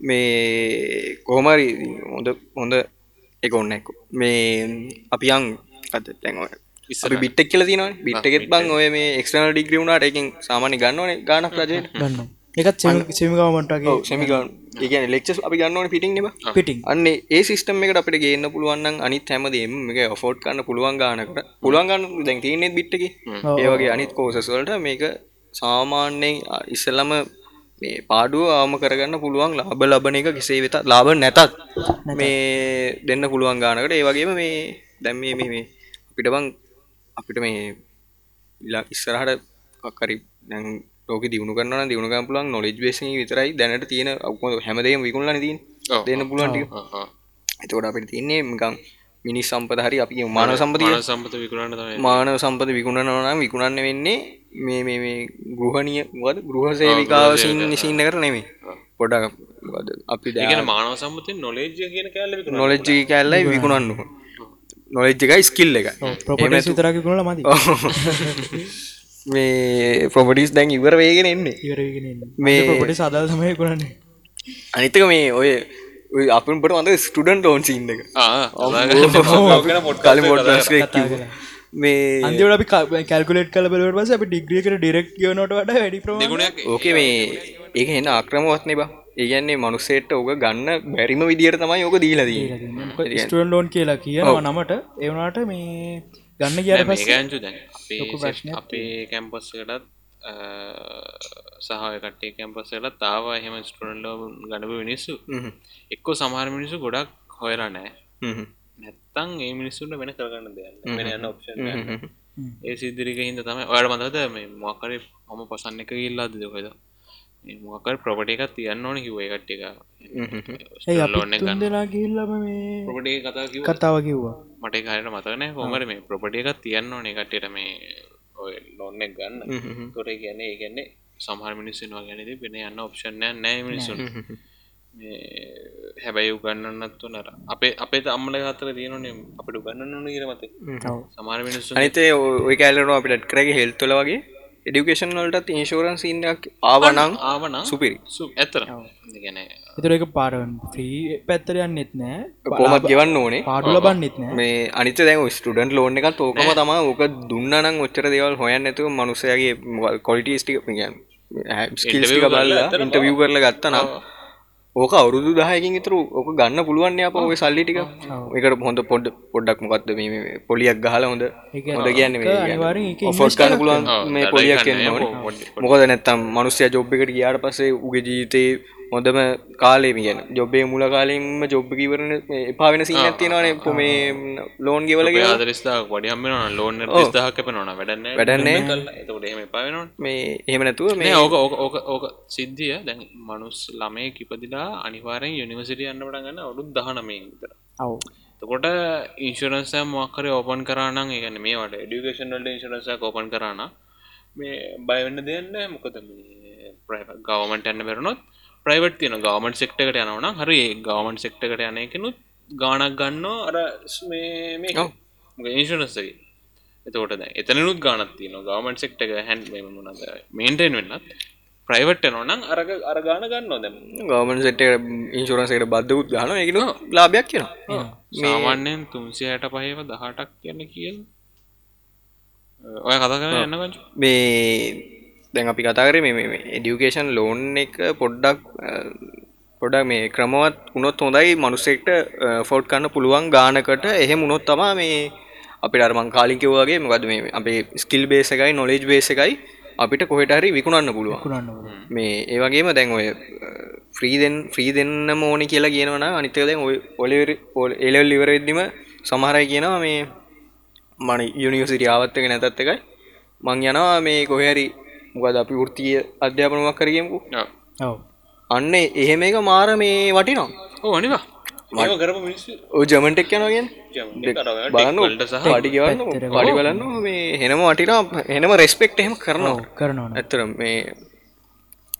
Speaker 3: මේ කොහමරි හොඳ හොඳ එක ඔන්න එක මේ අපි යන් අත තැන්ව
Speaker 1: ඉස්සරහට.
Speaker 3: බිට්ක් කියල තින බිට්ගෙත් බං ඔය මේ එක්නල් ඩිග්‍රියුණට එකින් සාමාන්‍ය ගන්නවන ගානක් රජයට
Speaker 2: ගන්න එකත් සෙමිකවමටගේ
Speaker 3: සමිගන් ඒකන ලෙක්ෂ අපි ගන්නවන පිටික්නෙම
Speaker 2: පිටිං
Speaker 3: අන්න ඒ සිිටම් එකට අපට ගේන්න පුළුවන් අනිත් හැමදේම එක ෆෝට් කන්න පුළුවන් ගානකට පුළුවන්ගන්න දැන්තිනෙත් බිට්ටක ඒවගේ අනිත් කෝසස්වලට මේක සාමාන්‍යයෙන් අ, ඉස්සල්ලම මේ පාඩුව ආම කරගන්න පුළුවන් ලාබ ලබන එක කිසේ වෙත ලාබ නැතත් මේ දෙන්න පුළුවන් ගානකට ඒවගේම මේ දැම් මේ මේ- මේ අපිට බං අපිට මේ ඉලා ඉස්සරහට කක්කරි දැන් ලෝක දියුණු කරන්න දියුණුකම් පුලන් නොලෙජ් වේසි විතරයි දැනට තියෙන ඔක්කොම හැමදේම විකුණලන තින්
Speaker 1: ඔව්.
Speaker 3: දෙන්න පුළුවන්ටික එතකොට අපිට තින්නේ නිකම් මිනිස් සම්පත හරි අපි කියමු මානව සම්පතිය
Speaker 1: මන සම්පත විකරන්න තමයි
Speaker 3: මානව සම්පත විකුණනවා නම් විකුණන්න වෙන්නේ මේ මේ මේ ගෘහණීය මොකද ගෘහ සේවිකාව සින් සින්න කර නෙමෙයි පොඩක් මොකද අපි
Speaker 1: ඒකන
Speaker 3: දැන්
Speaker 1: මානව සම්පතින් නොලේජ්ජ කියන කෑල්ල විකරන්න
Speaker 3: නොලෙජ් එක කැල්ලයි විකුණන්න නොලෙජ් එකයි ස්කිල් එක
Speaker 2: ප්‍රපට සිතරක කුණල මති
Speaker 3: මේ ප්‍රොපටිස් දැන් ඉවර වේගෙන එන්නේ
Speaker 2: ඉවරගෙන මේ
Speaker 3: මේ-
Speaker 2: පොට සදල් සමය කරන්නේ
Speaker 3: අනිතක මේ ඔය ඔය අපට මඳ ස්ටඩන්ට ඕන් සින්න එක
Speaker 4: ගැන පොඩ්කාස්ට්
Speaker 3: කලින් පොඩ්කාස්ට් එකේ කිව්වා. මේ
Speaker 2: අන්තිවට අපි කල්කුලෙට් කල බලවට පස අප ඩිග්‍රියකට ඩෙරෙක් යනොට වට වැඩි ප්‍රම
Speaker 1: දෙගුණයක්
Speaker 3: ඕකේ මේ ඒක එන්න ආක්‍රමවත් නෙබා ඒගැන්නේ මනුස්සේට ඕක ගන්න බැරිම විදිර තමයි ඕක දීලදී
Speaker 2: ස්ටන් ලෝන් කියලා කියනවා නමට එවනාට මේ ගන්න කියට පස්
Speaker 1: ඒකෑන්චු දැන් අපේ
Speaker 2: ලොකු
Speaker 1: set-
Speaker 2: ප්‍රශ්නයක්
Speaker 1: අපේ කැම්පස්සටත් සහය කටේ කැම්පස්සලත් තාව එහෙම ස්ටරන්ලෝ ගඩපු මිනිස්සු එක්කෝ සමහර මිනිසු ගොඩක් හොයලා නෑ නැත්තං ඒ මිනිස්සුන්ට වෙන කරගන්න දෙන්න වෙන යන්න ඔප්ෂන් ඒ සිදිරික හිද තමයි ඔයාට මඳද මේ මොකර හොම පසන්න එක ඉල්ලා දෙදකද මොකර ප්‍රපට එකක් තියන්න ඕන කිවේ කට්ටික ලෝන්න ගන්න
Speaker 2: දෙලා ගිල්ලම මේ
Speaker 1: ප්‍රපට කතා කිව
Speaker 2: කතාව කිව්වා
Speaker 1: මට හරයට මතකනෑ හොමර මේ ප්‍රපට එකක් තියන්න ඕන එකටට මේ ඔය ලොන්නෙක් ගන්න කොට ගැන ඒගැන්නේ සහර මිනිස්සුවා ගැනද වෙන යන්න ඔප්ෂණය නෑ මිනිසුන් හැබැයි උගන්නන්නත් නර අපේ අපේ අම්මල හතර දයනනේ අපට උගන්න ඕන කියරමත
Speaker 2: ඔව්.
Speaker 1: සමහර මිනිස්සු
Speaker 3: අනිතේ ඔය කෑල්ලන අපිට කරගේ හෙල්තුල වගේ එඩිකේෂන් වලටත් ඉන්ශෝරන් සිීනයක් ආවනං
Speaker 1: ආවන
Speaker 3: සුපිරි
Speaker 1: සු ඇතර ගැන
Speaker 2: එතුර එක පාරවන් ්‍රී පැත්තර යන්නෙත් නෑ
Speaker 3: කොමත් ගෙවන්න ඕනේ
Speaker 2: පාඩු ලබන්නෙත් නෑ
Speaker 3: මේ අනිත දැන් ස්ටඩන්ට ලෝන් එකත් ඕකම තම ඕක දුන්නනම් ඔච්චර දේවල් හොයන්න ඇතුව මනුසයගේ කොලිටස්ටික පිගන් ස්කිල්ි බලලා ඉන්ටවිය් කරල ගත්තනම් ඕක අවුරුදු දායකින් ඉතුරු ඕක ගන්න පුළුවන් අප ඔය සල්ලි ටික එකට හොඳ පොඩ් පොඩ්ඩක් මොකක්ද මේ මේ පොලියක් ගහල හොඳ
Speaker 2: ඒක
Speaker 3: හොඳ කියන්නේ මේ
Speaker 2: අනිවාර්යෙන් ඒක
Speaker 3: කියන්නේ. offers ගන්න පුළුවන් මේ පොලියක් කියන්න ඕනේ මොකද නැත්තම් මනුස්සය ජොබ් එකට ගියාට පස්සේ උගේ ජීවිතේ හොඳම කාලේ මේ කියන්නේ ජොබ් එකේ මුල කාලෙම ජොබ් එක ඉවරන මේ එපා වෙන සීනක් තියෙනවානේ පො- මේ ලෝන් ගෙවල කියලා
Speaker 1: ආදරස්ථා වඩියම් වෙන ලෝන ස්ථාහක පෙනන වැඩන්න
Speaker 3: වැඩන්නේ
Speaker 1: එතකොට එහෙම පාවෙනවා
Speaker 3: මේ එහෙම නැතුව මේ
Speaker 1: මේ ඕක ඕක ඕක ඕක සිද්ධිය දැන් මනුස් ළමය කිපදිලා අනිවාරෙන් යනිවසිටිය යන්න පට ගන්න ඔුත් දහනමේ විතර
Speaker 2: ඔව්
Speaker 1: තකොට ඉන්ශරන්සය මක්කර ඕපන් කරනම් ඒගන මේ වට ඩිකේෂන්ල්ට ඉන්ශරන්සය කෝපන් කරන්න මේ බයවෙන්න දෙන්න මොකද ගවමට ඇන්න බරනොත් ප්‍රයිවට් තියන ගවමට සෙක්ටකට යනවන හරි ගවමන් සෙක්ටකට යනයකනුත් ගානක් ගන්න අර ස්- මේ- මේ ඉන්ශරන්සගේ එතකොට දැන් එතනනුත් ගානක් තියෙන ගවමන් සෙක්ට එක හැන් මොනද මේන්ටෙන් වෙන්නත් ප්‍රයිවට් යනවනම් අරග අර ගාන ගන්නවා දැම
Speaker 3: ගවමන් සෙට් එකට ඉන්ෂුරන්ස් එකට බද්ධකුත් ගන්න ඒකන ලාභයක් කියනවා
Speaker 1: සාමාන්‍යයෙන් තුන්සිය හැට පහව දහටක් කියන්න කියල් ඔය කතා කර යන්න පංච
Speaker 3: මේ දැන් අපි කතාකර මේ එඩියුකේෂන් ලෝන් එක පොඩ්ඩක් අ, පොඩක් මේ ක්‍රමවත් වුණොත් හොඳයි මනුස්සෙක්ට ෆෝඩ් කන්න පුළුවන් ගානකට එහෙම උනොත් තමා මේ අපිට අරමං කාලිකවගේ මොකද මේ අපේ ස්කිල් බේස එකයි නොලෙජ් බේස එකයි අපිට කොහෙට හරි විකුණන්න පුළුවන්
Speaker 2: කුණන්න
Speaker 3: මේ ඒවගේම දැන් ඔය ්‍රීදෙන් ්‍රී දෙන්න මෝනි කියලා කියනවන අනිතක දැන් ඔය ඔලෙවරි එලෙල් ලිවරෙද්දිම සමහරයි කියනවා මේ මන යුනිවසිරි ආවත් එක නැතත් එකයි මං යනවා මේ කොහැරි මොකද අපි ෘතිය අධ්‍යාපනුවක් කරගමුකු
Speaker 2: ඔව්
Speaker 3: අන්න එහෙම එක මාර මේ වටිනවා
Speaker 1: ඕ අනිවා
Speaker 4: ඒව කරපු මිනිස්සු
Speaker 3: ඔය ජමන්ටෙක් යනගෙන්
Speaker 4: German එක අර ඔය
Speaker 3: බලන්න
Speaker 1: වලට සහ
Speaker 3: පඩි ගවන්න පඩි බලන්න මේ හෙනම වටිනා හෙනම රෙස්පෙක්් එහෙම කරනවා
Speaker 2: කරනවන
Speaker 3: ඇත්තර මේ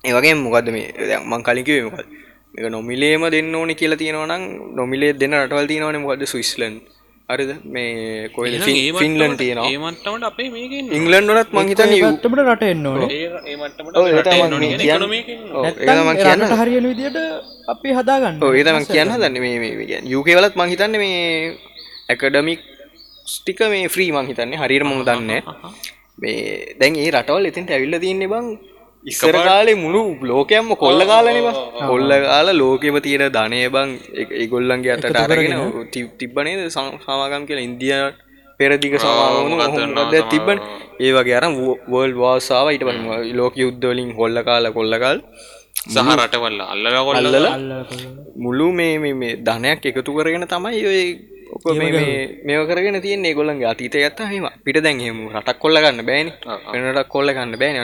Speaker 3: ඒවගේ මොකද මේ දැන් මං කලින්කිවේ මොකද මේක නොමිලේම දෙන්න ඕනි කියලා තියෙනවනම් නොමිලේ දෙන්න රටවල් තියෙනවනේ මොකද ස්විස්ලන් අරිද මේ කොයි
Speaker 1: එහෙනම් ඒ
Speaker 3: ෆින්ලන්
Speaker 1: මට්ටමට-
Speaker 3: තියෙනවා
Speaker 1: ඒ මට්ටමට අපේ මේකෙන්
Speaker 3: ඉංගලන්ඩ වනත් මංහිතන
Speaker 2: ටමට රට එන්න ඕන
Speaker 4: ඒ ඒ මට්ටමට
Speaker 3: ඔව්,
Speaker 4: අපේ
Speaker 3: ඒ
Speaker 4: රටේ එන්න
Speaker 3: තමයි
Speaker 4: ඕනේ
Speaker 3: මම
Speaker 4: කියන්නේ economy
Speaker 3: කියන්නේ.
Speaker 4: එකෙන්.
Speaker 3: ඒම කියන්න
Speaker 2: රට හරියන විදියට අපි හදාගන්න
Speaker 3: ඒතම කියන්න දන්න මේ යුකේවලත් මංහිතන්න මේ ඇකඩමික් ස්ටික මේ ෆ්‍රී මංහිතන්නේ හරිර මොම දන්න මේ දැන් ඒ රටවල් ඉතින් ඇවිල්ල තියන්නේ බං ඉස්සර කාලේ මුළු ලෝකයම්ම කොල්ල කාලන කොල්ල කාල ලෝකෙම තියෙන ධනය බං ඒගොල්ලන්ගේ අතට අරගෙන ති- තිබ්බනේද සම- සමාගම් කියලා ඉන්දිය පෙරදිග සමාගම ද තිබ්බන ඒ වගේ අරම් වර්ල් වාසාාව ඉට ප ලෝක යුද්ධවලින් හොල්ල කාල කොල්ලකාල්
Speaker 1: සහ රටවල්ල අල්ලකොල්ල
Speaker 3: අල්ලලා මුළු මේ මේ- මේ ධනයක් එකතු කරගෙන තමයි ඔය ඔක මේ මේ- මේව කරගෙන තියන්නේ ගොල්ලන්ගේ අතීතය ගත්ත හෙම පිට දැන් හෙම රටක් කොල්ල ගන්න බෑන වෙනටක් කොල්ල ගන්න බෑන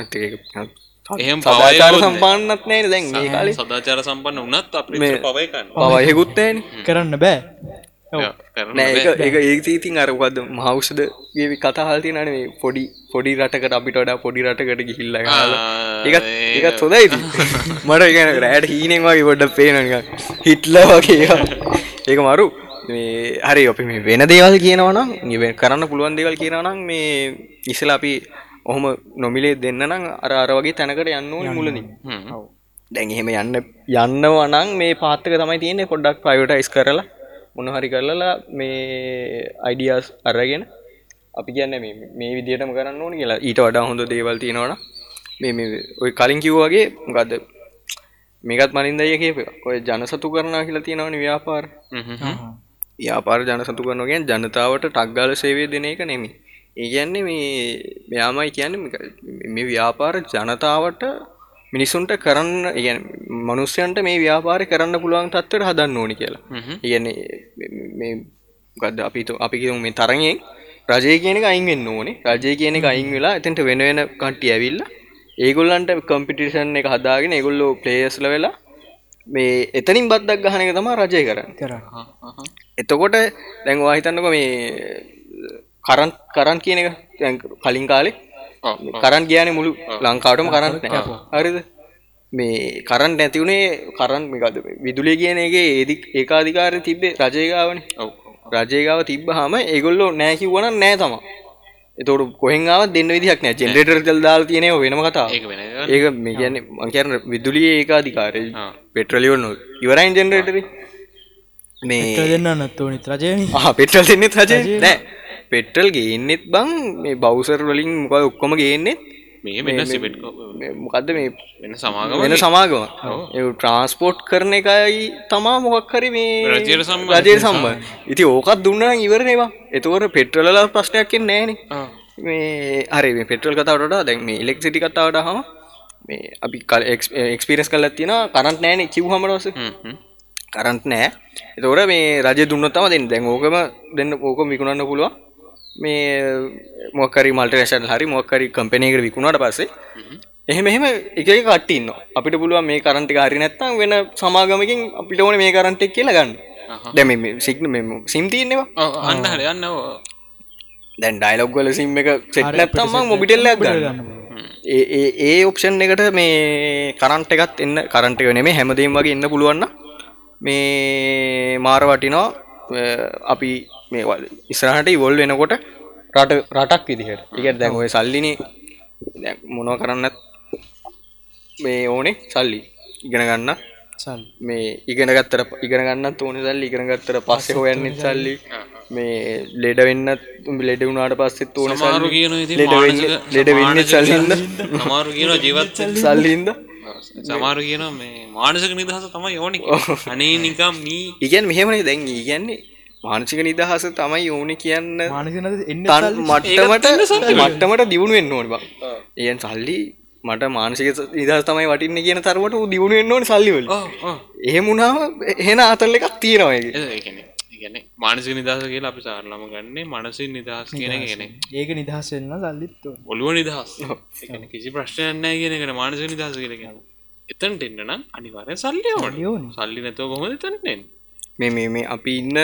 Speaker 1: එහෙම
Speaker 3: සදාචාර සම්පාන්නත් නෑ දැන් මේ කාලේ
Speaker 1: සදාචාර සම්පන්න වනත් අප
Speaker 3: මේ
Speaker 4: පවය ගන්න.
Speaker 3: පවයකුත් නෑන
Speaker 2: කරන්න බෑ
Speaker 3: නෑ එක එක ඒක තීතින් අරකද මහෞෂද ගේ කතාහල්ති නන මේ පොඩි පොඩි රටකට අපිට වඩා පොඩි රටකට ගිහිල්ල ඒත් ඒත් හොදයි ඉතින්. මට එකන රෑට හීනෙන් වගේ පොඩ්ඩ පේනක හිට්ල වගේ ඒවා. ඒක මරු මේ හරි අපි මේ වෙන දේවල් කියනවනම් නිවෙන් කරන්න පුළුවන් දේවල් කියනවනම් මේ ඉසල අපි ඔහොම නොමිලේ දෙන්න නම් අර අර වගේ තැනකට යන්න ඕනේ මුලදී දැන් එහෙම යන්න යන්නවා නම් මේ පාත්තක තමයි තියෙන්නේ පොඩ්ඩක් ප්‍රයිවටයිස් කරලා මොන හරි කරලා මේ අයිඩියාස් අරගෙන අපි කියන්නේ මේ මේ විදිහටම කරන්න ඕනේ කියලා ඊට වඩා හොඳ දේවල් තියෙනවනම් මේ මේ ඔය කලින් කිව්වා වගේ මොකද්ද මේකත් මනින්ද අයියා කියපේ ඔය ජනසතු කරනවා කියලා තියෙනවනේ ව්‍යාපාර ව්‍යාපාර ජනසතු කරනවා කියන්නේ ජනතාවට ටක් ගාලා සේවය දෙන එක නෙමෙයි. ඒ කියන්නේ මේ මෙයාමයි කියන්නේ මේක- මේ ව්‍යාපාර ජනතාවට මිනිසුන්ට කරන්න ඒ කියන්නේ මිනිස්යන්ට මේ ව්‍යාපාරය කරන්න පුළුවන් තත්ත්වයට හදන්න ඕනි කියලා. ඒ කියන්නේ මේ- මේ මොකද්ද අපි හිතමු- අපි කියමු මේ තරඟයෙන් රජය කියන එක අයින් වෙන්න ඕනේ. රජය කියන එක අයින් වෙලා එතනට වෙන වෙන කට්ටිය ඇවිල්ලා ඒගොල්ලන්ට කම්පිටිෂන් එක හදාගෙන ඒගොල්ලෝ ප්ලේයර්ස්ලා වෙලා මේ එතනින් බද්දක් ගහන එක තමයි රජය කරන්නේ.
Speaker 2: කරන්න
Speaker 3: එතකොට දැන් ඔයා හිතන්නක මේ කරන් කරන් කියන එක දැන් කලින් කාලේ කරන් කියන්නේ මුළු ලංකාවටම කරන්ට් නැහැ. හරිද? මේ කරන්ට් නැති උනේ කරන්ට් මේකද විදුලිය කියන එකේ ඒදි- ඒකාධිකාරය තිබ්බේ රජය ගාවනේ. රජය ගාව තිබ්බහම ඒගොල්ලෝ නැහැ කිව්වනම් නැහැ තමයි. එතකොට කොහෙන් ආවත් දෙන්න විදිහක් නැහැ. ජෙනරේටර් දාලා තියෙන ඒවා වෙනම කතාවක්.
Speaker 1: ඒක වෙන එකක්.
Speaker 3: ඒක මේ කියන්නේ මං කියන විදුලියේ ඒකාධිකාරය පෙට්‍රලියම් නෝ ඉවරයි ජෙනරේටරේ. මේ
Speaker 2: දෙන්න නත්වනි රජයන
Speaker 3: පෙටල් දෙන්නෙත් රජ නෑ පෙට්‍රල් ගේන්නෙත් බං මේ බෞසර් වලින් මොක ඔක්කොම ගේන්නෙත්
Speaker 1: මේ වෙන සිමෙට්
Speaker 3: මේ මොකක්ද මේ
Speaker 1: වෙන සමාගම
Speaker 3: වෙන සමාගම ඒ ට්‍රන්ස්පෝට් කරන එකයි තමා මොකක්හරි මේ
Speaker 1: රජයට සම්බන්ධ.
Speaker 3: රජයට සම්බන්ධ. ඉතින් ඕකත් දුන්නම් ඉවරනවා එතකොට පෙට්‍රලල ප්‍රශ්නයක් එන්නේ නෑනේ
Speaker 1: ආ.
Speaker 3: මේ අරේ මේ පෙට්‍රල් කතාවට වඩා දැන් මේ ඉලෙක්ට්‍රිසිටි කතාවට හම මේ අපි කල එක්ස්පීරියන්ස් කරලා තියෙනවා කරන්ට් නෑනේ කිව්වම රවසේ
Speaker 1: හ්ම් හ්ම්.
Speaker 3: කරන්ට් නෑ එතකොට මේ රජ දුන්නත්තම දෙන්න දැන් ඕකම දෙන්න ඕක විකුණන්න පුළුවන් මේ මොකරි මල්ටනේශන් හරි මොකරි කම්පනයකට විකුණට පස්සේ එහෙම එහෙම එක එක කට්ටන්න අපිට පුළුවන් මේ කරන්ටි හරි නැත්තම් වෙන සමාගමකින් අපිට ඕන මේ කරන්ට එක් කියලා ගන්න දැම සිග්න මෙම සිම්තියන්නවා
Speaker 1: ඔව්, අන්න හරි අන්න ඔව්.
Speaker 3: දැන් ඩයිලොග් වල සිම් එක සෙට් නැත්තම්ම මොබිටෙල්ලක් ගන්න ඒ ඒ- ඒ ඔප්ෂන් එකට මේ කරන්ට එකත් එන්න කරන්ට එක නෙමේ හැමදීම් වගේ එන්න පුළුවන්න මේ මාර වටිනෝ අපි මේ වල- ඉස්සරහට ඉවොල් වෙනකොට රට රටක් විදිහට ඉගට දැන් ඔය සල්ලින මොනව කරන්නත් මේ ඕනේ සල්ලි ඉගෙන ගන්න
Speaker 2: සල්
Speaker 3: මේ ඉගෙන ගත්තර ඉගෙන ගන්නත් ඕනේ සල්ලි ඉගෙන ගත්තර පස්සේ හොයන්නෙත් සල්ලි මේ ලෙඩ වෙන්නත් ලෙඩ වුණාට පස්සෙත් ඕනේ
Speaker 1: සමහරු
Speaker 3: සල්ලි
Speaker 1: කියනවා ඉතින්
Speaker 3: ලෙඩ වෙන්න-
Speaker 1: මානසික-
Speaker 3: ලෙඩ වෙන්නේ
Speaker 1: මානසික
Speaker 3: සල්ලින්ද?
Speaker 1: සමහරු කියනවා ජීවත් වෙන්න.
Speaker 3: සල්ලින්ද
Speaker 1: සමහරු කියනවා මේ මානසික නිදහස තමයි ඕනි කියලා. අනේ නිකම් මී
Speaker 3: ඉගැන් මෙහෙමනේ දැන් ඉගැන්නේ මානසික නිදහස තමයි ඕනේ කියන්න
Speaker 2: මානසින එන්න
Speaker 3: තන් මට්ටමට මට්ටමට දියුණු වෙන්න ඕනි බං ඉගැන් සල්ලි මට මානසික නිදහස තමයි වටින්නේ කියන තරමට ඌ දියුණු වෙන්න ඕනේ සල්ලි වලින්
Speaker 1: ඔව් ඔව්.
Speaker 3: එහෙම වුණාම එහෙන ආතල් එකක් තියෙනවා ඒකේ
Speaker 1: ඒ කියන්නේ ඒ කියන්නේ මානසික නිදහස කියලා අපි සාරලම ගන්නේ මනසින් නිදහස් කියන එක කියන්නේ
Speaker 2: ඒක නිදහස් වෙන්න සල්ලිත් ඕන.
Speaker 1: ඔළුව නිදහස් ඒ කියන්නේ කිසි ප්‍රශ්නයක් නැහැ කියන එකට මානසික නිදහස කියලා කියනවා. එතනට එන්න නම් අනිවාර්යෙන් සල්ලි
Speaker 2: සල්ලි
Speaker 1: ඕනේ.
Speaker 2: ඕනේ.
Speaker 1: සල්ලි නැතුව කොහොමද එතනට එන්නේ?
Speaker 3: මේ මේ මේ අපි ඉන්න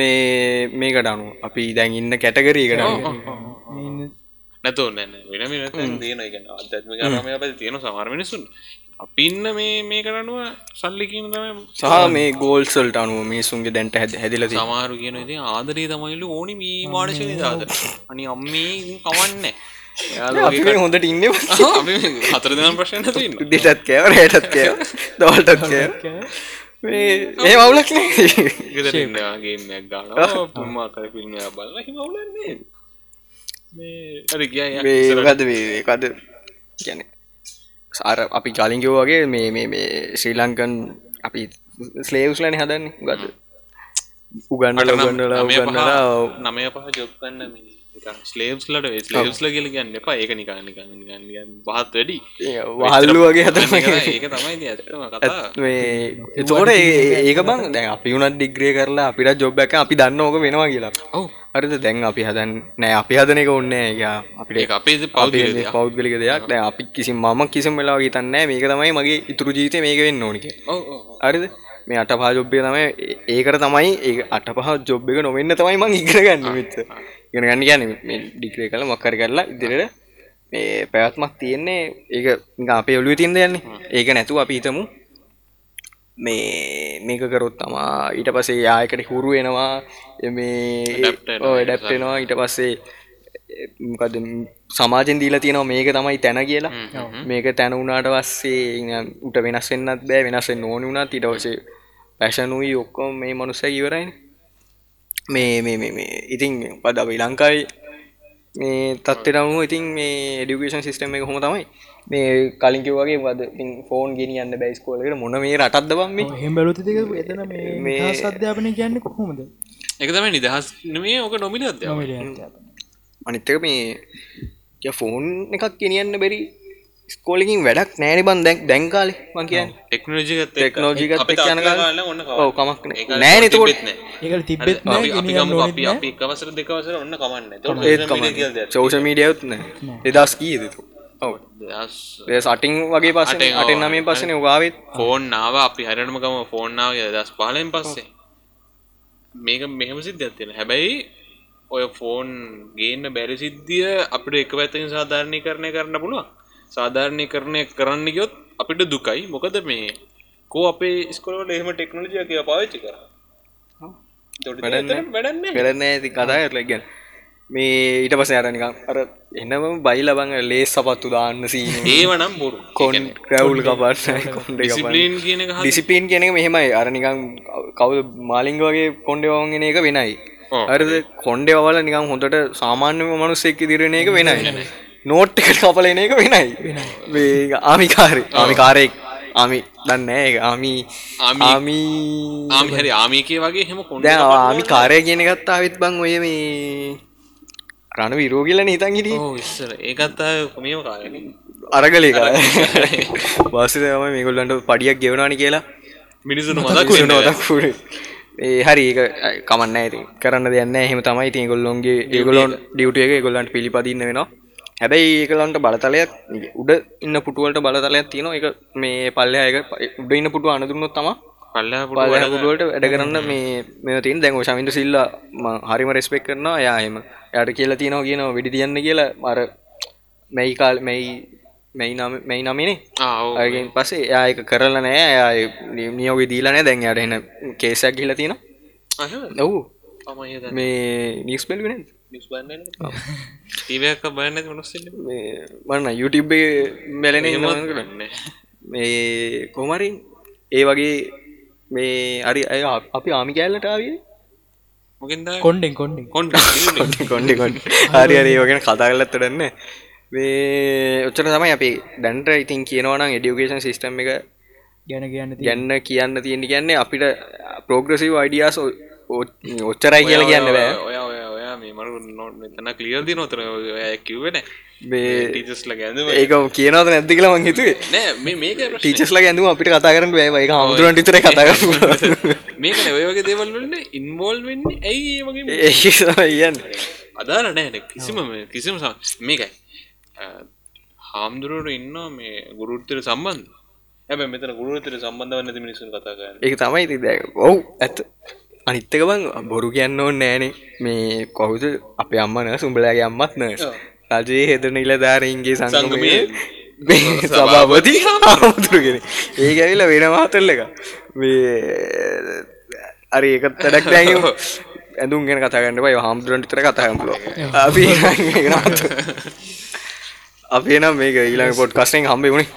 Speaker 3: මේ මේකට අනුව අපි දැන් ඉන්න කැටගරීකට
Speaker 1: ඔව්, ඔව්, ඔව්.
Speaker 2: මේ ඉන්න-
Speaker 1: නැතෝ නැන වෙනම නැත දන ගැන අත්ම ගම අප තියෙන සමර මිනිසුන් අපින්න මේ මේ කරනුව සල්ලි කියන තම
Speaker 3: සහ මේ ගෝල් සල්ට අනුව මිනිසුන්ගේ දැන්ට හැද හැදිල
Speaker 1: සමාරු කියන ඉති ආදරී තමයිලු ඕනි මේ මානශ දාද අනි අම්මේ කවන්න
Speaker 3: හොඳට ඉන්න
Speaker 1: හතර දෙන ප්‍රශ්න තින්න
Speaker 3: දෙටත් කෑව රයටත් කෑව දවල්ටත් කෑ මේ මේ මවුලක්
Speaker 1: ගෙදරන්නගේමයක් ගන්න පුම්මා කර පිල්ම බල්ල හිමවලන්නේ මේ අර ගිය
Speaker 3: ඒකද කද ගැන සාර අපි කලින්ගෝ වගේ මේ මේ මේ ශ්‍රී ලංකන් අපි ස්ලේවස්ලන හදන්නේ ගත
Speaker 1: Mm.
Speaker 3: උගන්නල උගන්නල උගන්නලා
Speaker 1: නමය පහ ජොක්කන්න ස්ලේම්ස් ලට ස්ලේම්ස්ල කියල ගන්න එපා ඒක නිකාන්න ගන්න ගන්න පහත් වැඩි
Speaker 3: ඒ වහල්ලු වගේ හදන
Speaker 1: ඒක තමයි ඉතින් ඇත්තම කතා
Speaker 3: මේ එතෝට ඒක බං දැන් අපි වුණත් ඩිග්‍රේ කරලා අපිට ජොබ්බැක අපි දන්න ඕක වෙනවා කියලා
Speaker 1: ඔව්
Speaker 3: හරිද දැන් අපි හදන් නෑ අපි හදන එක ඔන්න අපිට
Speaker 1: ඒක අපේ පෞද්ගලික දෙයක්.
Speaker 3: පෞද්ගලික දෙයක් නෑ අපි කිසි මම කිසිම වෙලා හිතන්නෑ මේක තමයි මගේ ඉතුරු ජීවිතය මේක වෙන්න ඕනික
Speaker 1: ඔව් ඔව් ඔව්.
Speaker 3: හරිද මේ අට පහ ජොබ්ය තමයි ඒ- ඒකට තමයි ඒ අට පහ ජොබ් එක නොවෙන්න තමයි මං ඉගෙන ගන්න මිත්ත ඉගෙන ගන්න ගැන ඩික්‍රේ කල මක්කර කරලා ඉදිරියට මේ පැවත්මක් තියෙන්නේ ඒක නිකන් අපේ ඔලුව තින්ද යන්නේ ඒක නැතුව අපි හිතමු මේ මේක කරොත් තමා ඊට පසේ යායකට හුරු වෙනවා මේ
Speaker 1: Adapt වෙනවා.
Speaker 3: ඩැප්ටෙනවා ඊට පස්සේ මොකද සමාජෙන් දීලා තියෙනවා මේක තමයි තැන කියලා මේක තැන වුණාට පස්සේ උට වෙනස් වෙන්නත් බෑ වෙනස්සෙන් ඕන වුණා ඊටවසේ පැෂනුයි ඔක්කොම මේ මනුස්ස ඉවරයින මේ මේ මේ මේ ඉතින් පද අපි ලංකායි මේ තත්ත්වයට අනුව ඉතින් මේ ඩිකේෂන් සිස්ටම් එක හොම තමයි මේ කලින්කිව වගේ වද ෆෝන් ගෙනියන්න බැයිස්කෝලකට මොන මේ රටත් දබම් මේ
Speaker 2: එහෙම බැලුවොත් ඉතින් ඒක එතන මේ නිදහස් අධ්‍යාපනය කියන්නේ කොහොමද?
Speaker 1: ඒක තමයි නිදහස් නෙමේ ඕක නොමිල අධ්‍යාපනය.
Speaker 2: නොමිලේ අධ්‍යාපනය.
Speaker 3: අනිත්තක මේ ෆෝන් එකක් ගෙනියන්න බැරි ස්කෝලිකින් වැඩක් නෑන බන් දැක් දැන්කාලේ මං කියන්න
Speaker 1: ටෙක්නෝජි ගත
Speaker 3: ටෙක්නෝජිකත්
Speaker 1: අපි
Speaker 3: එක්ක යන
Speaker 1: තාත්තලා
Speaker 3: කාලේ.
Speaker 1: කාලේ ඔන්න
Speaker 3: ඔව් කමක් නෑ. නෑ නේ එතකොට.
Speaker 2: ඒකල තිබෙත් නෑ
Speaker 1: අපි අපි
Speaker 2: ගෙනියන්න
Speaker 1: ගමු
Speaker 2: ඕනෙත්
Speaker 1: අපි
Speaker 2: නෑ.
Speaker 1: අපි එක වසර දෙක වසර ඔන්න කමන්න.
Speaker 3: ඒත් කම චෝෂ මීඩියයුත් නෑ එදස් කීදතු ඔව දෙ සටිං වගේ පස
Speaker 1: අටෙන්, ඔව්.
Speaker 3: අටෙන් නමේ පසන උගාවත්
Speaker 1: ෆෝන් නාව අපි හරියටම ගම ෆෝන් නාව දස් පාලෙන් පස්සේ මේක මෙහෙම සිද්ධියක් තියෙන හැබැයි ඔය ෆෝන් ගේන්න බැරි සිද්ධිය අපිට එක පැත්තකින් සාධාරණීකරණය කරන්න පුළුවන් සාධාරණීකරණය කරන්න ගියොත් අපිට දුකයි මොකද මේ කෝ අපේ
Speaker 4: ස්කොලට එහෙම ටෙක්නෝජිය කිය පාවිච්චි කර
Speaker 3: වැඩක් නෑ.
Speaker 4: වැඩන්න
Speaker 3: පෙරන ඇති කතා ඇරලගැන් මේ ඊට පස අරනිකම් අර එන්නම බයි ලබඟ ලේ සපත්තු දාන්න සීන
Speaker 1: ඒවනම් බොරු
Speaker 3: කොන් ක්‍රවුල් කපන්න කොන්ඩ
Speaker 1: ඩිසිප්ලින් කියන එක හරි.
Speaker 3: ඩිසිපීන් කියන එක මෙහෙමයි අරනිකම් කවුද මාලිංග වගේ කොන්්ඩවන්ගෙන එක වෙනයි
Speaker 1: ඔව්.
Speaker 3: අරද කොන්්ඩවල නිකම් හොඳට සාමාන්‍යම මනුස්සෙක් ඉදිරෙන එක වෙනයි නෝට් එකට කපලන එක වෙනයි මේ ආමිකාරය ආමිකාරයෙක් ආමි දන්න ඒක ආමි
Speaker 1: ආමි.
Speaker 3: ආමි
Speaker 1: ආමි හරි ආමිකය වගේ හෙම කොන්ඩ
Speaker 3: දැ ආමි කාරය කියන ගත්තා විත් බං ඔය මේ රණ විරෝගිලන හිතන් හිටිය
Speaker 1: ඉස්සර ඒකත් අය කොමියම කාලන
Speaker 3: අරගලේ කර බස්සය තම මේගොල්ලන්ට පඩියක් ගෙවනානි කියලා
Speaker 1: මිනිසුන
Speaker 3: කුණ
Speaker 1: මදක්
Speaker 3: දක්ුණ ඒ හරි ඒක අ- කමන්න ඇති කරන්න දෙන්න හෙම තමයි ති ගොල්ලොන්ගේ ඒගොලොන් ඩියුටිය එක ගොල්ලන්ට පිළිපදින්න වෙනවා හැබැයි ඒකලන්ට බලතලයක් උඩ ඉන්න පුටුවලට බලතලයක් තියෙන එක මේ පල්ලයක උඩ ඉන්න පුටුව අනදුරන්නොත් තම
Speaker 1: පල්ලා පුඩ
Speaker 3: පලයකුටුවලට වැඩ කරන්න මේ මෙ තින් දැන් ශමින්ට සිල්ල හරිම රෙස්පෙක් කරනවා යායම යට කියලා තියෙනවා කියනවා වෙඩි තියන්න කියලා මර මැයි කාල් මෙයි මෙයි නම මෙයි නමිනේ
Speaker 1: ආව
Speaker 3: අයගෙන් පසේ යායක කරල නෑ යාය නියෝග දීලනෑ දැන් අයට එන කේසයක් ගිල තියෙන
Speaker 1: අහ
Speaker 3: ඔවු
Speaker 1: තමයි ඒ
Speaker 3: මේ නිස් පෙල් වෙන
Speaker 1: ටීවයක් බයන්න මනුස්සෙන්න
Speaker 3: වන්න යුටබ් මැලන
Speaker 1: කරන්න
Speaker 3: මේ කොමරි ඒ වගේ මේ අරි අය අප- අපි ආමි කෑල්ලටාවේ
Speaker 1: මොකින්ද
Speaker 2: කොණ්ඩෙන් කොණ්ඩෙන්.
Speaker 1: කොන්ට
Speaker 3: කොඩි කොඩ් හරි අරි යෝගෙන කතාගලත්තටන්න මේ ඔච්චර තමයි අපි දැන්ට ඉතින් කියනවනම් එඩියුකේෂන් සිිස්ටම් එක
Speaker 2: ගැන කියන්න තියෙන.
Speaker 3: ගැන්න කියන්න තියෙන කියන්නේ අපිට පෝග්‍රසිව අයිඩියස් ඔච්චරයි කියලා කියන්න බෑ
Speaker 1: ඔය ඔය ඔයා මේ මරු නොට මෙතන කලියදී නොතර ඔය කිව්වෙන
Speaker 3: මේ
Speaker 1: ටීචස්ල ගැඳ
Speaker 3: ඒක කියනවද නැද්ද කියලා මං හිතුවේ
Speaker 1: නෑ මේ මේක ප්‍රශ්නේ.
Speaker 3: ටීචස්ලා ගැඳුම අපිට කතා කරන්න බෑ ඒක හමුදුරන්ට විතරයි කතා කරන්න පුළුවන්.
Speaker 1: මේක නෑ, ඔය වගේ දේවල් වලට ඉන්වෝල් වෙන්නේ ඇයි ඒ වගේ
Speaker 3: ඒක තමයි කියන්නේ
Speaker 1: අදාල නෑන කිසිම මේ- කිසිම සම- මේකයි හාමුදුරුවට ඉන්නවා මේ ගුරුත්තර සම්බන්ධ
Speaker 4: හැබ මෙතන ගුරුතර සම්බන්ධ වන්න මිනිසුන් කතා කරන්න
Speaker 3: ඒක තමයි ඉතින් දැන් ඔව් ඇත්ත අනිත්තක බං බොරු කියන්න ඕනේ නෑනේ මේ කොහොමද අපේ අම්මා නර්ස් උඹලාගේ අම්මත් නර්ස් රජයේ හෙදන නිලධාරීන්ගේ සංගමයේ
Speaker 4: සංගමයේ
Speaker 3: මේ සභාපති හාමුදුරුගෙන ඒක ඇවිල්ලා වෙන මාතල් එක මේ අරි ඒක තඩක් දැ ඇඳුම් ගැන කතාගන්න පයි හාමුදුරන්ට තර කතාගම්පුල අපි අපේ නම් මේක ඊළඟ පොට් කස්නෙන් හම්බේ වුණේ